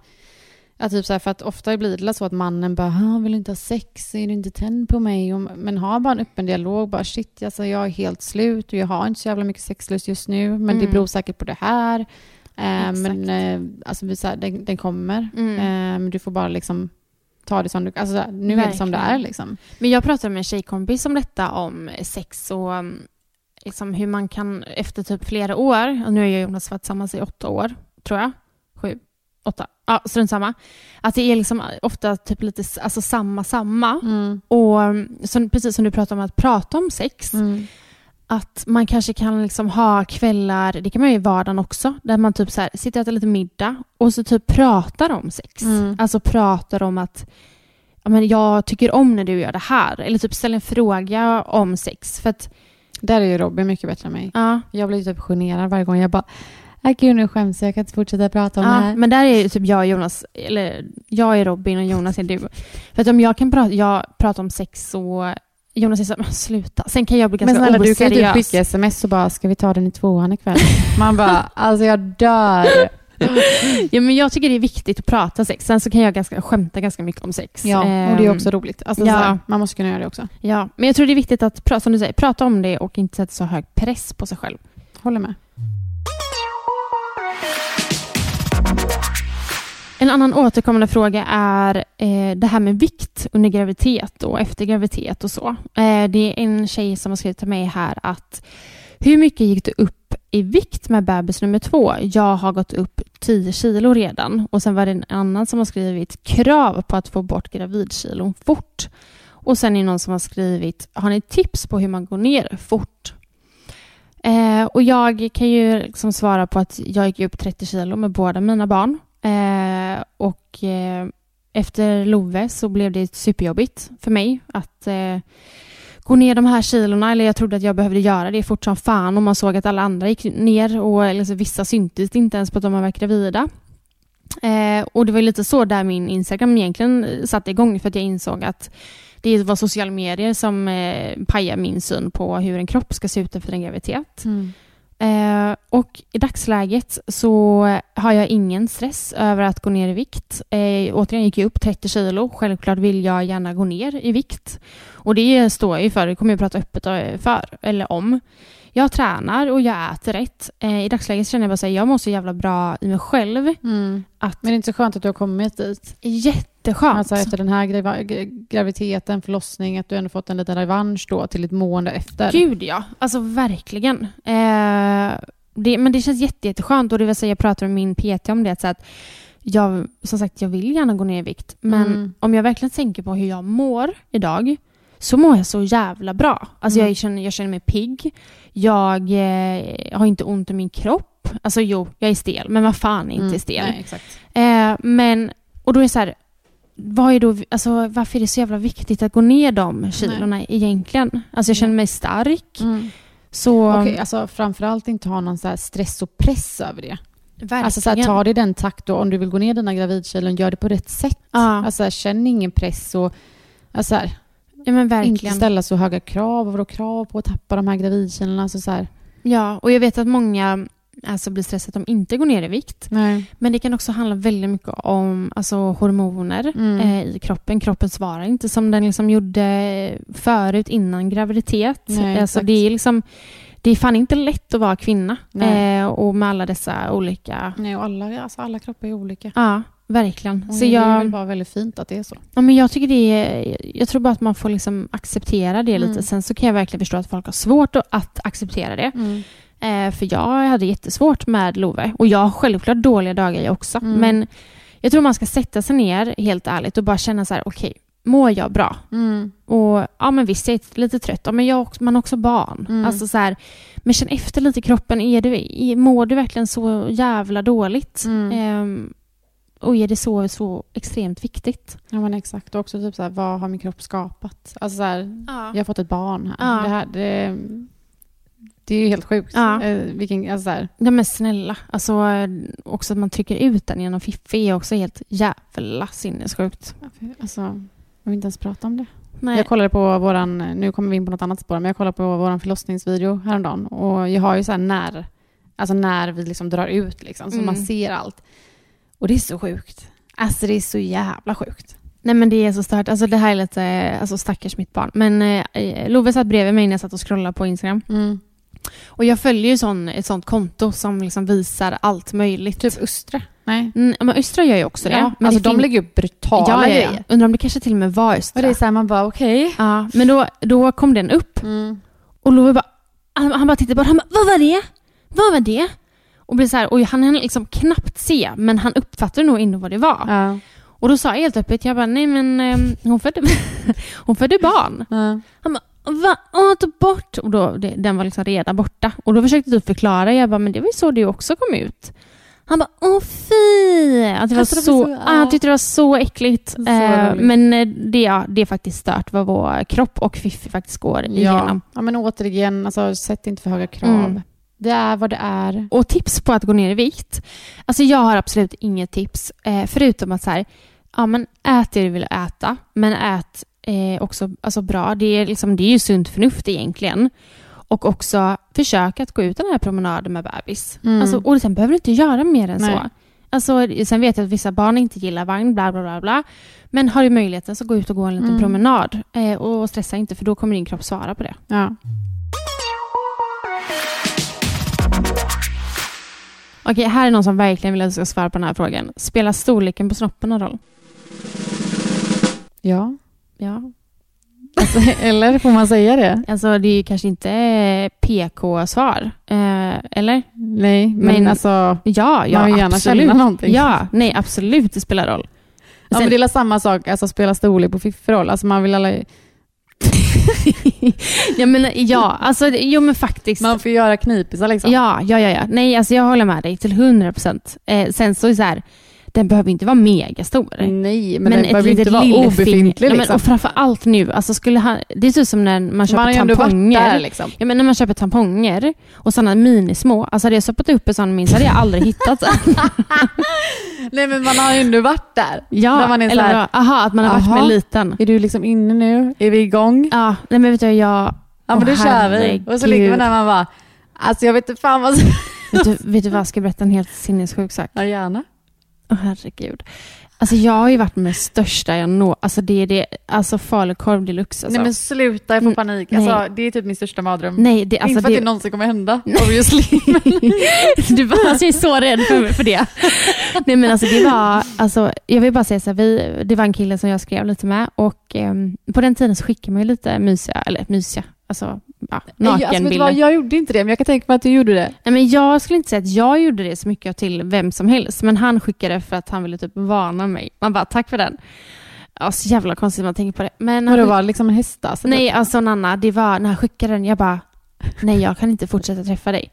Att typ så här, för att ofta blir det så att mannen bara, "Ah, vill du inte ha sex? Är du inte tänd på mig? Och, men ha bara en öppen dialog, bara shit, alltså, jag är helt slut och jag har inte så jävla mycket sexlust just nu, men det Mm. beror säkert på det här. Eh, Exakt. men eh, alltså, vi, så här, den, den kommer. Mm. Eh, men du får bara liksom ta det som du, alltså, så här, nu är det som det Verkligen. är liksom. Men jag pratade med en tjejkompis om detta, om sex och um, liksom hur man kan efter typ flera år, och nu har jag och Jonas varit tillsammans i åtta år, tror jag, sju, åtta, ja strunt samma, att det är liksom ofta typ lite s- alltså samma samma. Mm. Och um, som, precis som du pratade om att prata om sex, Mm. att man kanske kan liksom ha kvällar, det kan man ju i vardagen också, där man typ så här, sitter och äter lite middag och så typ pratar om sex. Mm. Alltså pratar om att ja, men jag tycker om när du gör det här. Eller typ ställer en fråga om sex. För att, Där är ju Robin mycket bättre än mig. ja, Jag blir typ generad varje gång. Jag bara, äh, gud nu skäms jag, jag kan inte fortsätta prata om det ja, här. men där är ju typ jag och Jonas, eller jag är Robin och Jonas är du. För att om jag kan prata, jag pratar om sex och Jonas säger så här, "Men sluta. Sen kan jag bli Men ganska snälla, du kan ju typ oseriös. skicka sms och bara, ska vi ta den i tvåan ikväll? <laughs> Man bara, alltså jag dör. ja, men jag tycker det är viktigt att prata sex. Sen så kan jag ganska, skämta ganska mycket om sex. Ja, och det är Ehm, också roligt. Alltså, Ja. så här, man måste kunna göra det också. Ja, men jag tror det är viktigt att, pra- som du säger, prata om det och inte sätta så hög press på sig själv. Håller med. En annan återkommande fråga är eh, det här med vikt under graviditet och efter graviditet och så. Eh, det är en tjej som har skrivit till mig här att hur mycket gick du upp i vikt med bebis nummer två? Jag har gått upp 10 kilo redan. Och sen var det en annan som har skrivit krav på att få bort gravidkilon fort. Och sen är det någon som har skrivit har ni tips på hur man går ner fort? Eh, och jag kan ju liksom svara på att jag gick upp 30 kilo med båda mina barn. Eh, och eh, efter Love så blev det superjobbigt för mig att eh, gå ner de här kilorna. Eller jag trodde att jag behövde göra det fort som fan om man såg att alla andra gick ner och liksom, vissa syntes inte ens på att de var gravida. Eh, och det var ju lite så där min Instagram egentligen eh, satte igång för att jag insåg att det var sociala medier som eh, pajade min syn på hur en kropp ska se ut efter en graviditet. Mm. Eh, och i dagsläget så har jag ingen stress över att gå ner i vikt. Eh, återigen gick jag upp 30 kilo. Självklart vill jag gärna gå ner i vikt. Och det står jag ju för. Det kommer jag prata öppet eh, för, eller om. Jag tränar och jag äter rätt. Eh, I dagsläget känner jag bara att jag mår så jävla bra i mig själv. Att, Men det är inte så skönt att du har kommit dit. jätteskönt. Alltså efter den här gra- gra- graviditeten, förlossning, att du ändå fått en liten revansch då till ditt mående efter. Gud ja, alltså verkligen. Eh, det, men det känns jätte, jätteskönt och det vill säga jag pratar med min PT om det. att Så att jag, som sagt, jag vill gärna gå ner i vikt men Mm. om jag verkligen tänker på hur jag mår idag så mår jag så jävla bra. Alltså Mm. jag, känner, jag känner mig pigg, jag eh, har inte ont i min kropp. Alltså jo, jag är stel, men vad fan är inte Mm, stel? Nej, exakt. Eh, men, och då är det så här, vad är då, alltså, varför är det så jävla viktigt att gå ner de kilorna egentligen? Alltså jag känner mig stark. Så, Mm. Okej, alltså framförallt inte ha någon så här stress och press över det. verkligen. Alltså så här, ta det i den takt då. Om du vill gå ner dina gravidkilon, gör det på rätt sätt. Ja. Alltså, så här, känn ingen press och alltså, så här, ja, men inte verkligen. ställa så höga krav. Vadå krav på att tappa de här gravidkilorna? Alltså, så här. Ja, och jag vet att många alltså, blir stressade att de inte går ner i vikt. Nej. Men det kan också handla väldigt mycket om alltså, hormoner Mm. eh, i kroppen. Kroppen svarar inte som den liksom gjorde förut innan graviditet. Nej, alltså, exakt. det, är liksom, det är fan inte lätt att vara kvinna. Nej. Eh, och med alla dessa olika... Nej, och alla, alltså, alla kroppar är olika. Ja, verkligen. Så Så jag... Det är väl jag, bara väldigt fint att det är så. ja, men jag, tycker det är, jag tror bara att man får liksom acceptera det Mm. lite. Sen så kan jag verkligen förstå att folk har svårt att- att acceptera det. Mm. Eh, för jag hade jättesvårt med Love. Och jag har självklart dåliga dagar jag också. Mm. Men jag tror man ska sätta sig ner, helt ärligt, och bara känna så här, okej, mår jag bra? Mm. Och ja, men visst, jag är lite trött. Ja, men jag, har också- man har också barn. Mm. Alltså så här, men känn efter lite i kroppen. Är du, är, mår du verkligen så jävla dåligt? Mm. Ehm, och är det så, så extremt viktigt? Ja, men exakt. Och också typ så här, vad har min kropp skapat? Alltså så här, Ja. jag har fått ett barn här. Ja. Det, här det, det är ju helt sjukt. Ja. Eh, vilken, alltså så här, men snälla. Alltså, också att man trycker ut den genom fiffi är också helt jävla sinnessjukt. alltså, jag vill inte ens prata om det. Nej. Jag kollade på våran, nu kommer vi in på något annat spår, men jag kollade på våran förlossningsvideo häromdagen och jag har ju så här när, alltså när vi liksom drar ut liksom, så Mm. man ser allt. Och det är så sjukt. Alltså det är så jävla sjukt. Nej men det är så stört. Alltså det här är lite, eh, alltså stackars mitt barn. Men eh, Love satt bredvid mig när jag satt och scrollade på Instagram. Mm. Och jag följer ju sån, ett sånt konto som liksom visar allt möjligt. Typ Östra. Nej. Mm, men Östra gör ju också det. Ja, men alltså det de fin- lägger upp brutala ja, ja, ja. grejer. Undrar om det kanske till och med var Och Östra. det är så här, man bara okej. Ja, men då, då kom den upp och Love bara, han, han bara tittade på den. Han bara, vad var det? Vad var det? Och blev så här, och han hann liksom knappt se, men han uppfattade nog ändå vad det var. Ja. Och då sa jag helt öppet, jag bara, nej men ehm, hon, födde, <laughs> hon födde barn. Han bara, va? Hon har tagit bort... Och då, det, den var liksom redan borta. Och då försökte du förklara. Jag bara, men det var ju så du också kom ut. Han bara, åh fy! Att det var Alltså, det så, var så- ah, han tyckte det var så äckligt. Så eh, roligt. men eh, det, ja, det är faktiskt stört vad vår kropp och fiffi faktiskt går Ja. igenom. ja, men återigen, alltså, sätt inte för höga krav. Mm. Det är vad det är. Och tips på att gå ner i vikt. Alltså jag har absolut inget tips. Eh, förutom att så här, ja men ät det du vill äta. Men ät eh, också alltså bra. Det är, liksom, det är ju sunt förnuft egentligen. Och också försöka att gå ut den här promenaden med bebis. Mm. Alltså, och sen behöver du inte göra mer än Nej. så. Alltså, sen vet jag att vissa barn inte gillar vagn, bla bla bla. bla. Men har du möjligheten så gå ut och gå en liten Mm. promenad. Eh, och stressa inte för då kommer din kropp svara på det. Ja. Okej, här är någon som verkligen vill att du ska svara på den här frågan. Spelar storleken på snoppen någon roll? ja. Ja. Alltså, eller får man säga det? Alltså det är ju kanske inte eh, PK-svar. Eh, eller? Nej, men, Men- alltså... Ja, ja man vill gärna absolut. känna någonting. Ja, nej absolut det spelar roll. Ja, men det är väl samma sak, alltså spela storlek på fifferroll. Alltså man vill alla... ja, men, ja, alltså det- jo men faktiskt. Man får göra knipisar liksom. Ja, ja, ja, ja. Nej, alltså jag håller med dig till 100 procent. Eh, sen så är det så här, den behöver inte vara megastor. Nej, Mm, men, det behöver ju inte vara lillfinger- obefintlig ja, men, liksom. och framförallt nu, alltså skulle han, det är typ som när man köper Man har ju ändå varit tamponger. där liksom. Ja, men när man köper tamponger och sådana minismå. Alltså hade jag stoppat upp en sån minst hade jag aldrig <laughs> hittat. Nej, men man har ju ändå varit där. ja, När man är så eller här- då, aha, att man har Aha. varit med liten. Är du liksom inne nu? Är vi igång? Ja, nej men vet du, jag... Ja, men Åh, då kör vi. Och så ligger herregud. man där och man bara, alltså jag vet inte fan vad... Vet du, vet du vad, jag ska berätta en helt sinnessjuk sak. Ja, gärna. Åh herregud. Alltså jag har ju varit med största jag når. Alltså det är det, alltså falukorv deluxe alltså. Nej men sluta, jag får Mm, panik. nej. Alltså, det är typ min största mardröm. Nej, det, alltså inte för att det, det, någonsin kommer hända, Nej. <laughs> obviously. du bara, alltså jag är så rädd för, för det. <laughs> Nej men alltså det var, alltså, jag vill bara säga så här, vi, det var en kille som jag skrev lite med och ehm, på den tiden så skickade man ju lite mysiga, eller mysiga, alltså ja, alltså, vet du nakenbilder. vad, jag... jag gjorde inte det, men jag kan tänka mig att du gjorde det. Nej, men jag skulle inte säga att jag gjorde det så mycket till vem som helst, men han skickade för att han ville typ varna mig. Man bara, tack för den. Ja, så jävla konstigt man tänker på det. Men Men han det var liksom en hästa. Alltså, Nej, alltså Nanna, det var när han skickade den, jag bara, nej jag kan inte fortsätta träffa dig.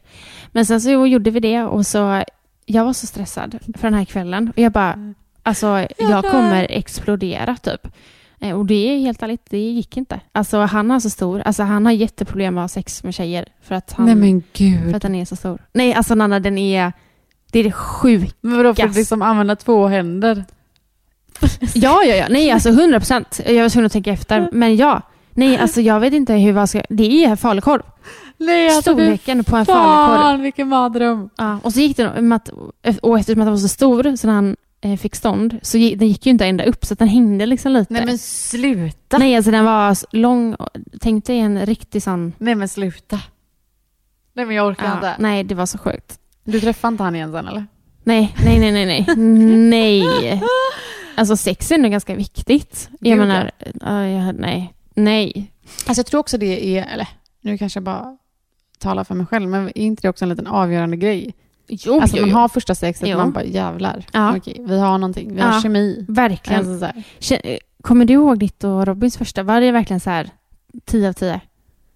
Men sen så jo, gjorde vi det och så, jag var så stressad för den här kvällen och jag bara, alltså jag kommer explodera typ. Eh, Och det är helt ärligt, det gick inte. Alltså han är så stor, alltså han har jätteproblem med att ha sex med tjejer för att han, typ- Nej men för gud. att han är så stor. Nej, alltså Nanna den är, det är det sjuka. Men vadå, för att Gas. liksom använda två händer? Ja, ja, ja. Nej, alltså 100 procent. Jag var tvungen att tänka efter. Men ja. Nej, alltså jag vet inte hur man ska... Det är falukorv. Nej, alltså fy Storleken på en falukorv. fan vilken mardröm. Ja, och så gick den, med att- och eftersom att den var så stor så när han eh, fick stånd, så gick, den gick ju inte ända upp så att den hängde liksom lite. Nej men sluta. Nej, alltså den var s- lång. och- Tänk dig en riktig sån... Nej men sluta. Nej men jag orkar Ja, inte. nej, det var så sjukt. Du träffar inte han igen sen eller? Nej, nej, nej, nej, nej. <laughs> nej. Alltså sex är nog ganska viktigt. Gud, Jag menar, ja, jag, nej. Nej. Alltså jag tror också det är, eller nu kanske jag bara talar för mig själv, men är inte det också en liten avgörande grej? Jo, alltså jo, man jo. har första sexet Jo. man bara jävlar, Ja. okej, vi har någonting, vi har Ja. kemi. Verkligen. Alltså, så här. Kä- eh, Kommer du ihåg ditt och Robins första? Var det verkligen så här 10 av 10?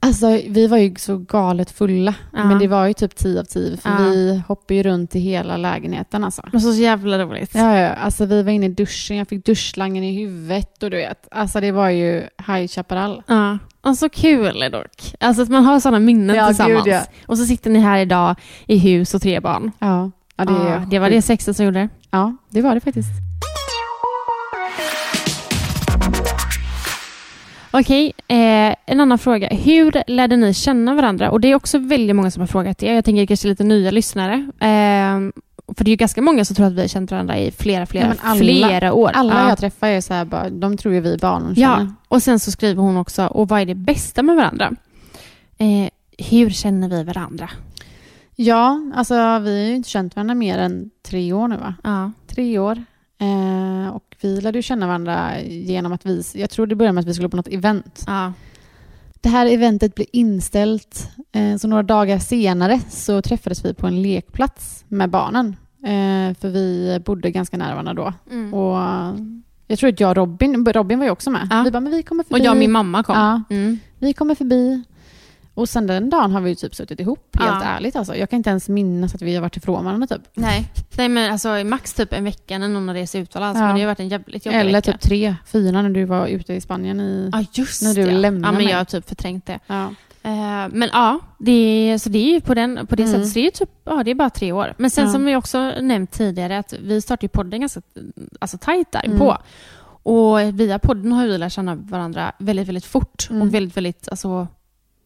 alltså vi var ju så galet fulla, Ja. men det var ju typ 10 av 10, för Ja. vi hoppade ju runt i hela lägenheten alltså. Det var så jävla roligt. Ja, ja, ja. alltså vi var inne i duschen, jag fick duschslangen i huvudet och du vet, alltså det var ju High Chaparral. Ja, och så kul dock. Alltså att man har sådana minnen Ja, tillsammans. gud, ja. Och så sitter ni här idag i hus och tre barn. Ja, ja, det, Ja, det var det sexet som gjorde det. Ja, det var det faktiskt. Okej, eh, en annan fråga. Hur lärde ni känna varandra? Och det är också väldigt många som har frågat det. Jag tänker kanske lite nya lyssnare. Eh, för det är ju ganska många som tror att vi har känt varandra i flera, flera, Ja, men alla- flera år. Alla Ja. jag träffar är så här bara, de tror ju vi är barn och Ja, känner. och sen så skriver hon också, och vad är det bästa med varandra? Eh, hur känner vi varandra? ja, alltså vi har ju inte känt varandra mer än tre år nu va? Ja. Tre år. Eh, och vi lärde ju känna varandra genom att vi, jag tror det började med att vi skulle på något event. ja. Det här eventet blev inställt, eh, så några dagar senare så träffades vi på en lekplats med barnen. Eh, för vi bodde ganska nära varandra då. Mm. Och eh, jag tror att jag och Robin, Robin var ju också med. Ja. Vi bara, men vi kommer förbi. Och jag och min mamma kom. Ja, Mm. vi kommer förbi. Och sen den dagen har vi ju typ suttit ihop, helt Ja. ärligt alltså. Jag kan inte ens minnas att vi har varit ifrån varandra typ. Nej. Nej, men alltså max typ en vecka när någon har rest utomlands. Ja. Men det har varit en jävligt jobbig Eller vecka. typ tre, fyra när du var ute i Spanien i... Ja, just när du det. lämnar ja, men mig. jag har typ förträngt det. Ja. Eh, men ja, det är, så det är ju på, den, på det Mm. sättet. Så det är ju typ, ja, det är bara tre år. Men sen Ja. Mm. som vi också nämnt tidigare, att vi startade ju podden ganska alltså, tajt där på. Och via podden har vi lärt känna varandra väldigt, väldigt fort Mm. och väldigt, väldigt alltså,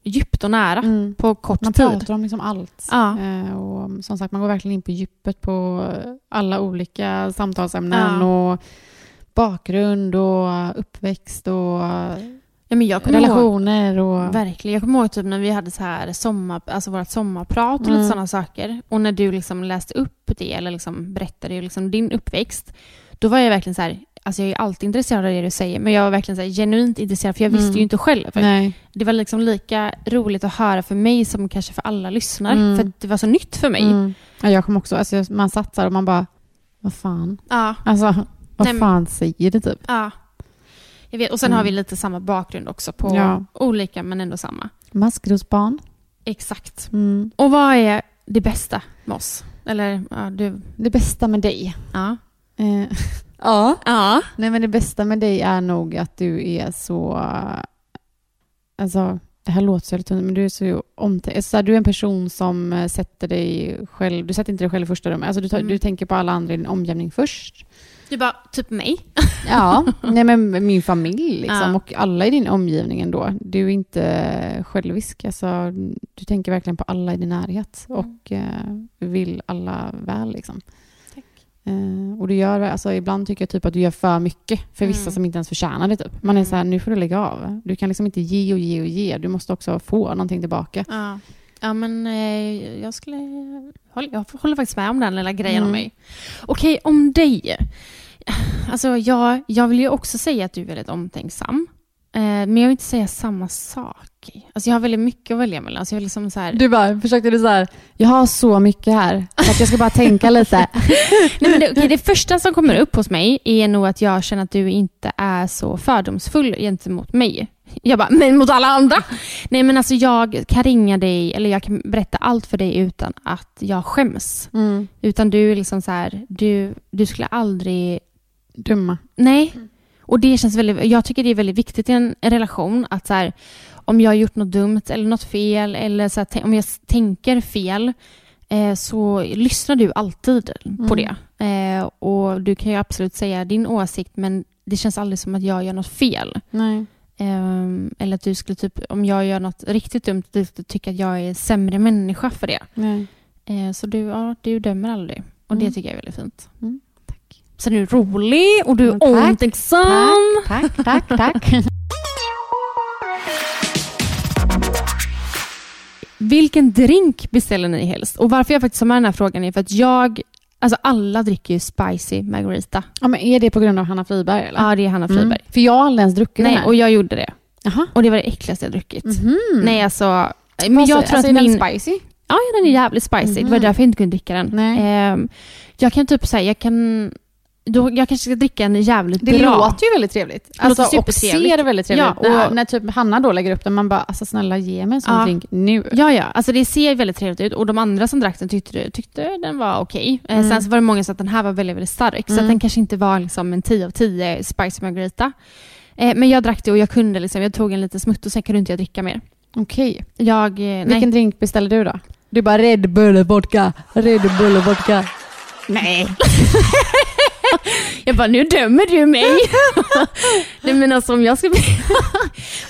djupt och nära Mm. på kort Man tid. pratar om liksom allt. Ja. Eh, och som sagt, man går verkligen in på djupet på alla olika samtalsämnen och bakgrund och uppväxt och Ja, men jag kommer ihåg, relationer och... verkligen, jag kommer ihåg typ när vi hade så här sommar, alltså vårt sommarprat och lite Mm. sådana saker. Och när du liksom läste upp det eller liksom berättade ju liksom din uppväxt, då var jag verkligen så här, alltså jag är alltid intresserad av det du säger, men jag var verkligen så här, genuint intresserad för jag visste Mm. ju inte själv. Nej. Det var liksom lika roligt att höra för mig som kanske för alla lyssnare, Mm. för att det var så nytt för mig. Mm. Ja, jag kommer också, alltså, jag- man satt där och man bara, vad fan? Ja, Alltså, vad Nej, men- fan säger det typ? ja. Jag vet, och sen Mm. har vi lite samma bakgrund också på Ja. olika men ändå samma. Maskrosbarn. Exakt. Mm. Och vad är det bästa med oss? Eller ja, du? Det bästa med dig? Ja. Eh, Ja. ja. nej, men det bästa med dig är nog att du är så... eh, Alltså, det här låter så jävligt tunt, men du är så omtänksam. Alltså, så här, du är en person som eh, sätter dig själv... Du sätter inte dig själv i första rummet. Alltså, du, tar, Mm. du tänker på alla andra i din omgivning först. Du bara, typ mig. Ja, <laughs> nej men min familj liksom, Ja. och alla i din omgivning ändå. Du är inte självisk. Alltså, du tänker verkligen på alla i din närhet Mm. och eh, vill alla väl. Liksom. Tack. Eh, och du gör, alltså, ibland tycker jag typ att du gör för mycket för vissa Mm. som inte ens förtjänar det. Typ. Man är Mm. så här, nu får du lägga av. Du kan liksom inte ge och ge och ge. Du måste också få någonting tillbaka. Ja. Ja, men eh, jag skulle... håll- Jag håller faktiskt med om den lilla grejen om Mm. mig. Okej, om dig. Alltså, jag, jag vill ju också säga att du är väldigt omtänksam. Eh, men jag vill inte säga samma sak. Alltså, jag har väldigt mycket att välja mellan. Alltså, jag vill liksom så här... Du bara, försökte du så här, jag har så mycket här, så att jag ska bara tänka lite. Nej, men det, okej, det första som kommer upp hos mig är nog att jag känner att du inte är så fördomsfull gentemot mig. Jag bara, men mot alla andra? Nej men alltså jag kan ringa dig eller jag kan berätta allt för dig utan att jag skäms. <laughs> Mm. Utan du är liksom så här, du, du skulle aldrig... Dumma. Nej. Och det känns väldigt, jag tycker det är väldigt viktigt i en relation att så här, om jag har gjort något dumt eller något fel eller så här, tän- om jag s- tänker fel eh, så lyssnar du alltid på Mm. det. Eh, och du kan ju absolut säga din åsikt men det känns aldrig som att jag gör något fel. Nej. Ehm, eller att du skulle, typ, om jag gör något riktigt dumt, du skulle tycka att jag är sämre människa för det. Nej. Eh, så du, ja, du dömer aldrig. Och det Mm. tycker jag är väldigt fint. Mm, Tack. Sen är du rolig och du Men är tack, omtänksam. Tack, tack, tack. Vilken drink beställer ni helst? Och varför jag faktiskt har med den här frågan är för att jag, alltså alla dricker ju spicy margarita. Ja, men är det på grund av Hanna Friberg? Eller? Mm. Ja, det är Hanna Friberg. För jag har aldrig ens druckit den Nej, här. och jag gjorde det. Jaha. Och det var det äckligaste jag druckit. Mhm. Nej, alltså. Men jag Alltså, tror alltså, att är den min... spicy? Ja, ja, den är jävligt spicy. Det var Mhm. därför jag inte kunde dricka den. Nej. Ehm, jag kan typ säga, jag kan... Då, jag kanske ska dricka en jävligt Det bra. låter ju väldigt trevligt. Alltså, och supertrevligt. ser väldigt trevligt. Ja, Ja, och- och när typ Hanna då lägger upp den, man bara alltså snälla ge mig en sån Ja. drink nu. Ja, ja. Alltså det ser väldigt trevligt ut och de andra som drack den tyckte, tyckte den var okej. Eh, Mm. Sen så var det många som sa att den här var väldigt, väldigt stark. Så att Mm. den kanske inte var liksom en 10 av 10 spicy margarita. Eh, Men jag drack det och jag kunde liksom, jag tog en liten smutt och sen kunde inte jag dricka mer. Okej. Jag, eh, nej. Vilken drink beställer du då? Du bara Red Bull vodka, Red Bull vodka. Nej. jag bara, nu dömer du <laughs> mig. nej men alltså om jag skulle bli...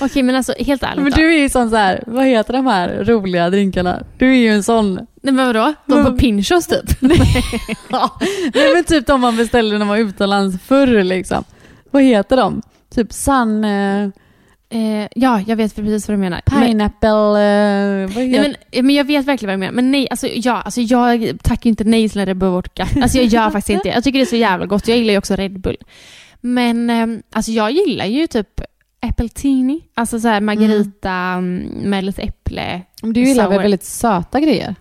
okej men alltså helt ärligt Men då. du är ju sån så här, vad heter de här roliga drinkarna? Du är ju en sån. Nej men vadå? De på Men- Pinchos typ? Nej men typ de man beställde när man var utomlands förr liksom. Vad heter de? Typ Sun... eh, Eh, ja, jag vet precis vad du menar. Men- Pineapple... eh, vad heter Nej, men, men jag vet verkligen vad du menar. Men nej, alltså, ja, alltså, jag tackar ju inte nej till en Red Bull <laughs> Vodka. Alltså, jag gör faktiskt inte det. Jag tycker det är så jävla gott. Jag gillar ju också Red Bull. Men ehm, alltså, jag gillar ju typ Appletini. Alltså så här margarita mm, med lite äpple. Men Du gillar väl Sour. väldigt söta grejer?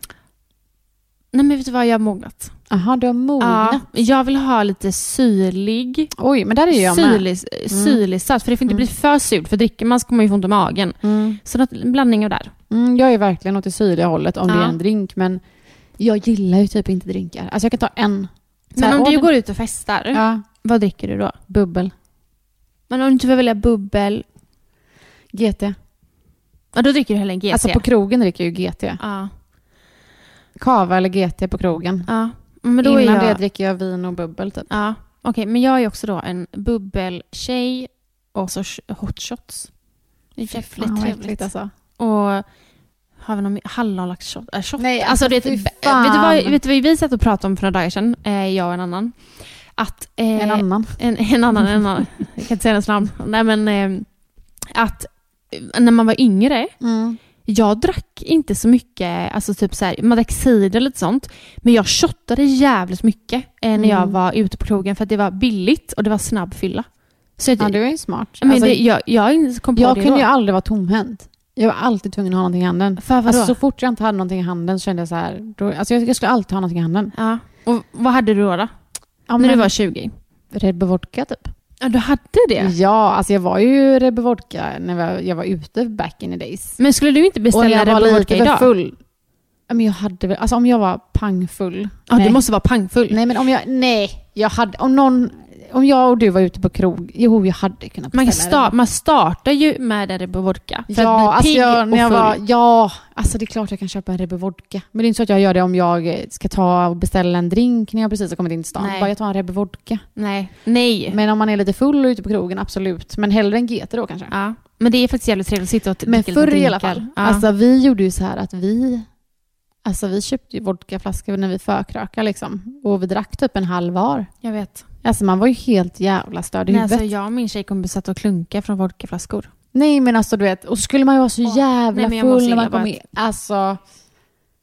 Nej men vet du vad, jag har mognat. Jaha, du har mognat. Ja, jag vill ha lite syrlig, Oj, men där är ju jag med. syrlig, syrlig saft. För det får inte bli för surt, för dricker man så kommer man ju få ont i magen. Mm. Så något, en blandning av där. Mm, jag är verkligen åt det syrliga hållet om det Ja. är en drink, men jag gillar ju typ inte drinkar. Alltså jag kan ta Mm. en. Så här, Men om åh, du den- går ut och festar, Ja, vad dricker du då? bubbel. Men om du inte vill välja bubbel, GT. Ja, då dricker du hellre en GT. Alltså på krogen dricker jag ju GT. ja. Kava eller GT på krogen. ja. Men då Innan är jag... det dricker jag vin och bubbel typ. ja. Okej, men jag är också då en bubbeltjej och så sh- hot shots. Det är jävligt Fan, vad trevligt. äckligt, alltså. Och har vi någon hallonlaxshot? Äh, shot? Nej, alltså, det, fy vet, du fan. vad, vet du vad vi satt och pratade om för några dagar sedan, eh, jag och en annan? Att, eh, En annan. En, en annan, en <laughs> annan. Jag kan inte säga hennes namn. Nej, men eh, att eh, när man var yngre, Mm. jag drack inte så mycket, alltså typ så här, man drack cider och lite sånt. Men jag shottade jävligt mycket eh, när jag Mm. var ute på krogen för att det var billigt och det var snabb fylla. Så jag, Ja, du är ju smart. men Alltså, det, jag, jag kom på jag det kunde ju då. aldrig vara tomhänt. Jag var alltid tvungen att ha någonting i handen. För vadå? Alltså, så fort jag inte hade någonting i handen så kände jag så här, då, alltså, jag, jag skulle alltid ha någonting i handen. ja. Och vad hade du då? då? Ja, när du men- var 20? Rebbe Vodka typ. Ja, du hade det? Ja, alltså jag var ju Rebbe Vodka när jag var, jag var ute back in the days. Men skulle du inte beställa det på vodka idag? full. Ja, Men jag hade väl, alltså om jag var pangfull. Ja, nej. du måste vara pangfull. nej, men om jag, nej, jag hade, om någon, om jag och du var ute på krog, jo jag hade kunnat Man, kan beställa sta- man startar ju med det på vodka. För den. Ja, att alltså bli pigg jag, när och jag full. var, ja, alltså det är klart jag kan köpa en Rebbe Vodka. Men det är inte så att jag gör det om jag eh, ska ta och beställa en drink när jag precis har kommit in till stan. Nej. Bara jag tar en Rebbe Vodka. Nej. Nej. Men om man är lite full och ute på krogen, absolut. Men hellre en GT då kanske. ja. men det är faktiskt jävligt trevligt att sitta och dricka Men lite förr i alla drinkar. fall. Ja. Alltså vi gjorde ju så här att vi, alltså vi köpte ju vodkaflaskor när vi förkrökade liksom. Och vi drack typ en halv var. jag vet. Alltså man var ju helt jävla störd i Nej, huvudet. alltså, jag och min tjejkompis satt och klunkade från vodkaflaskor. Nej men alltså du vet, och så skulle man ju vara så Åh, jävla nej, men jag mår så full när illa man kom bara. in. Alltså,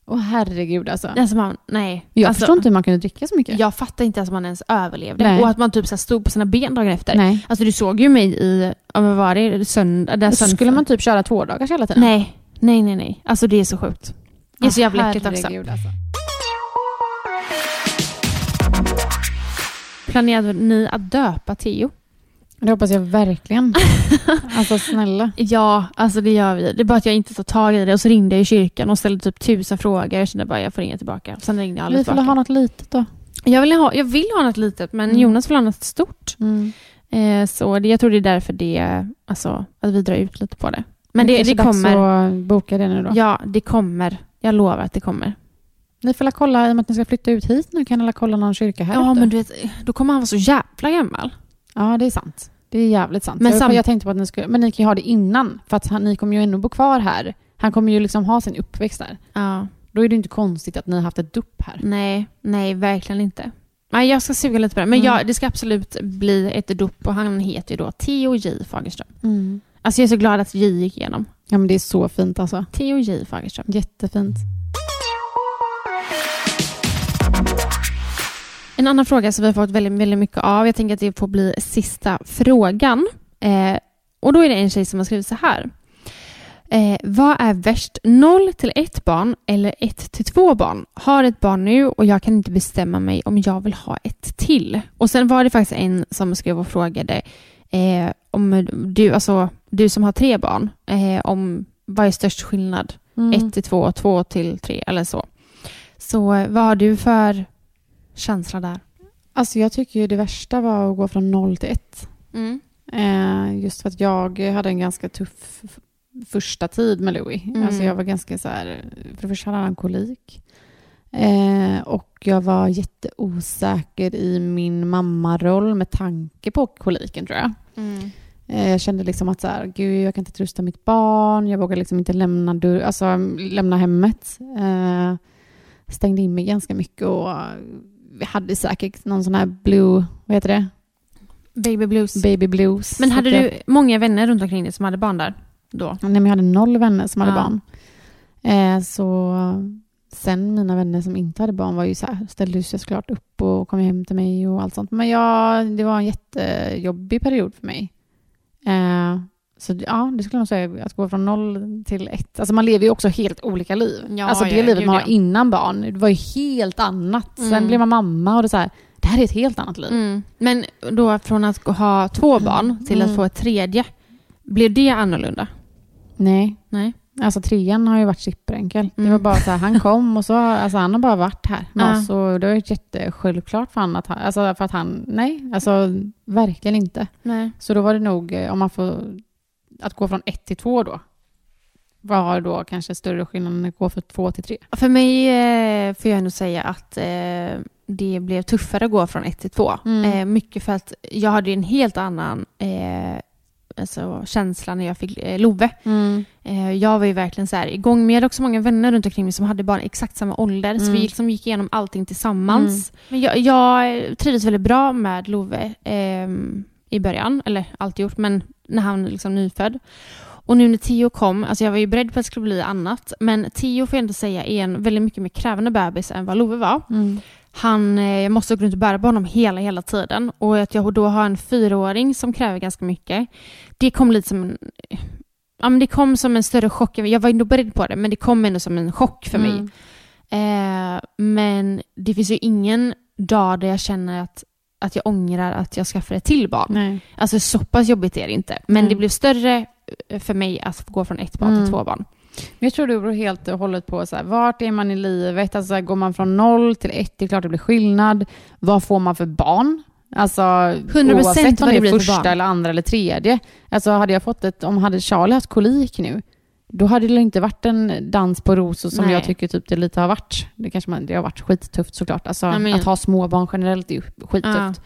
åh herregud alltså. Alltså, man, nej. Jag alltså, förstår inte hur man kunde dricka så mycket. Jag fattar inte att man ens överlevde. Nej. Och att man typ så här stod på sina ben dagen efter. Nej. Alltså du såg ju mig i, ja, men vad var det, söndag? Där Så söndag. skulle man typ köra två dagar hela tiden. Nej, nej, nej, nej. Alltså det är så sjukt. Det är så Åh, jävla äckligt också. herregud, Alltså. Planerade ni att döpa Theo? Det hoppas <laughs> jag verkligen. alltså snälla. Ja, alltså det gör vi. Det är bara att jag inte tar tag i det. Och så ringde jag i kyrkan och ställde typ tusen frågor. Jag kände bara jag får ringa tillbaka. Sen ringde jag aldrig Vi får tillbaka. ha något litet då. jag, vill ha, jag vill ha något litet, men Mm. Jonas vill ha något stort. Eh, så det, jag tror det är därför det, alltså, att vi drar ut lite på det. Men det, det kommer. Så boka det nu då. Ja, det kommer. Jag lovar att det kommer. Ni får la kolla, i och med att ni ska flytta ut hit nu, kan alla kolla någon kyrka här Ja, ute. men du vet, då kommer han vara så jävla gammal. ja, det är sant. Det är jävligt sant. Men Men jag, sam- jag tänkte på att ni skulle, men ni kan ju ha det innan, för att han, ni kommer ju ändå bo kvar här. Han kommer ju liksom ha sin uppväxt där. Ja. Då är det inte konstigt att ni har haft ett dupp här. Nej, nej, verkligen inte. Nej, jag ska suga lite på det. Men Mm. ja, det ska absolut bli ett dop och han heter ju då Theo J Fagerström. Alltså jag är så glad att J gick igenom. Ja, men det är så fint alltså. Theo J Fagerström. Jättefint. En annan fråga som vi har fått väldigt, väldigt mycket av, jag tänker att det får bli sista frågan. Eh, och då är det en tjej som har skrivit så här. Eh, vad är värst, 0 till 1 barn eller 1 till 2 barn? Har ett barn nu och jag kan inte bestämma mig om jag vill ha ett till. Och sen var det faktiskt en som skrev och frågade eh, om du, alltså, du som har tre barn, eh, om vad är störst skillnad? Mm. 1 till 2, 2 till 3 eller så. Så eh, vad har du för känsla där? Alltså jag tycker ju det värsta var att gå från noll till ett. Eh, just för att jag hade en ganska tuff f- första tid med Louis. Mm. Alltså jag var ganska så här, för det första hade han kolik. Eh, och jag var jätteosäker i min mammaroll med tanke på koliken tror jag. Mm. Eh, jag kände liksom att så här, gud jag kan inte trösta mitt barn, jag vågar liksom inte lämna, dörr, alltså, mm, lämna hemmet. Eh, stängde in mig ganska mycket och eh, vi hade säkert någon sån här blue, vad heter det? Baby blues. Baby blues. Men Så hade att jag- du många vänner runt omkring dig som hade barn där? Då? Nej, men jag hade noll vänner som hade Ja. barn. Eh, så sen mina vänner som inte hade barn var ju så här, ställde sig såklart upp och kom hem till mig och allt sånt. Men jag, det var en jättejobbig period för mig. Eh, så ja, det skulle jag nog säga, att gå från noll till ett. Alltså man lever ju också helt olika liv. Ja, alltså det ja, livet gud, man har ja. innan barn, det var ju helt annat. Mm. Sen blev man mamma och det är så här, det här är ett helt annat liv. Men då från att ha två barn till att Mm. få ett tredje, blev det annorlunda? Nej, Nej. Alltså trean har ju varit superenkel. Det Mm. var bara så här, han kom och så har- alltså, han har bara varit här med Ja. oss och det har varit jättesjälvklart för honom att han, alltså, för att han, nej, alltså verkligen inte. Nej. Så då var det nog, eh, om man får, att gå från ett till två då, var då kanske större skillnad än att gå från två till tre. För mig eh, får jag ändå säga att eh, det blev tuffare att gå från ett till två. Mm. Eh, mycket för att jag hade ju en helt annan eh, alltså, känsla när jag fick eh, Love. Mm. Eh, jag var ju verkligen så här igång, men jag hade också många vänner runt omkring mig som hade barn i exakt samma ålder. Så Mm. vi liksom gick igenom allting tillsammans. Men jag, jag trivdes väldigt bra med Love ehm, i början, eller alltid gjort, men när han är liksom nyfödd. Och nu när Tio kom, alltså jag var ju beredd på att det skulle bli annat, men Tio får jag ändå säga är en väldigt mycket mer krävande bebis än vad Love var. Mm. Han, eh, jag måste gå runt och bära på honom hela, hela tiden. Och att jag då har en fyraåring som kräver ganska mycket. Det kom lite som en... Ja, men det kom som en större chock. Jag var ändå beredd på det, men det kom ändå som en chock för mig. Mm. Eh, men det finns ju ingen dag där jag känner att, att jag ångrar att jag skaffar ett till barn. Nej. Alltså så pass jobbigt är det inte. Men Mm. det blev större eh, för mig att få gå från ett barn Mm. till två barn. Men jag tror det beror helt och hållet på så här, vart är man i livet? Alltså, så här, går man från noll till ett, det är klart det blir skillnad. Vad får man för barn? Alltså, 100% oavsett om vad det det blir för är första barn. eller andra eller tredje. Alltså, hade jag fått ett, om hade Charlie haft kolik nu, då hade det inte varit en dans på rosor som Nej. jag tycker typ det lite har varit. Det kanske man, det har varit skittufft såklart. Alltså, Jag menar. att ha små barn generellt är ju skittufft.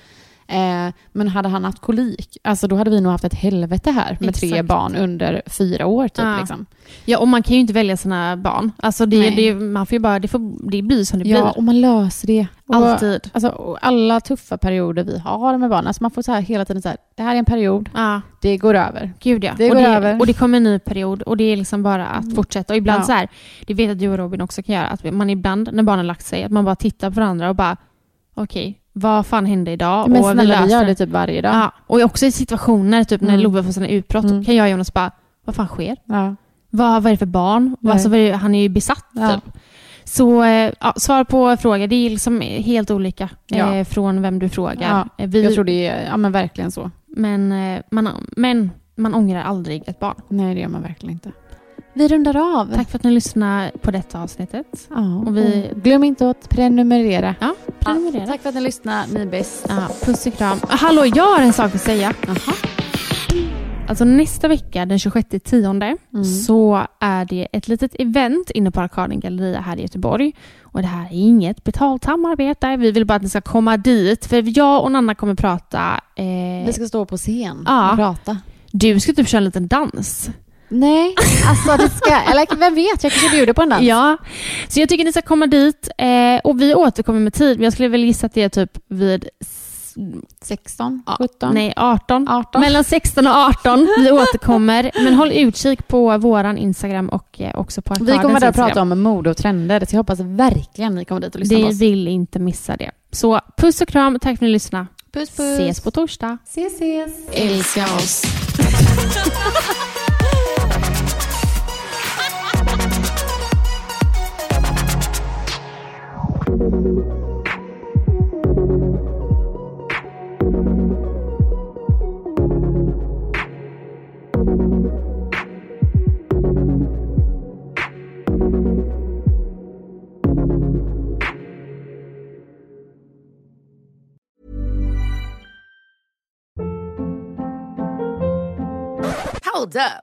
Eh, men hade han haft kolik, alltså då hade vi nog haft ett helvete här med tre Exakt. barn under fyra år. Typ, Ja. liksom. Ja, och man kan ju inte välja sina barn. Alltså det, Nej. det, man får ju bara, det, får, det blir som det Ja, blir. och man löser det. Och, Alltid. Alltså, och alla tuffa perioder vi har med barn. Alltså man får så här hela tiden så här, det här är en period, Ja. det går över. Gud ja. Det och, går det, över. Mm. och det kommer en ny period och det är liksom bara att fortsätta. Och ibland Ja. så här, det vet jag att du och Robin också kan göra, att man ibland när barnen lagt sig, att man bara tittar på varandra och bara okej, vad fan hände idag? Men och snälla, vi löser gör det typ varje dag. Ja. Och också i situationer, typ när Mm. Love får sina utbrott, Mm. kan jag och Jonas bara, vad fan sker? Ja. Vad, vad är det för barn? Nej. Alltså, vad är det, han är ju besatt Ja. typ. Så eh, ja, svar på fråga, det är liksom helt olika Ja. eh, från vem du Ja. frågar. Eh, Vi, Jag tror det är ja, men verkligen så. men, eh, man, men man ångrar aldrig ett barn. Nej, det gör man verkligen inte. Vi rundar av. Tack för att ni lyssnade på detta avsnittet. Ja, Och vi- och glöm inte att prenumerera. Ja, prenumerera. Tack för att ni lyssnar, ni är bäst. Ja, puss och kram. Hallå, jag har en sak att säga. Alltså nästa vecka, den 26 tionde, Mm. så är det ett litet event inne på Arkaden Galleria här i Göteborg. Och det här är inget betalt samarbete. Vi vill bara att ni ska komma dit. För jag och Nanna kommer prata... Eh, Vi ska stå på scen Ja. och prata. Du ska typ köra en liten dans. Nej, alltså det ska, eller vem vet, jag kanske bjuder på en dans. Ja, så jag tycker ni ska komma dit. Eh, och vi återkommer med tid, men jag skulle väl gissa att det är typ vid... s- 16, ja, 17, Nej, 18. 18. Mellan 16 och 18. Vi återkommer. Men håll utkik på våran Instagram och eh, också på Vi kommer Arkadens där att Instagram. prata om mode och trender, så jag hoppas verkligen ni kommer dit och lyssnar på Ni oss. vill inte missa det. Så puss och kram. Tack för att ni lyssnade. Puss, puss. Ses på torsdag. Ses, ses. Älska oss. Hold up.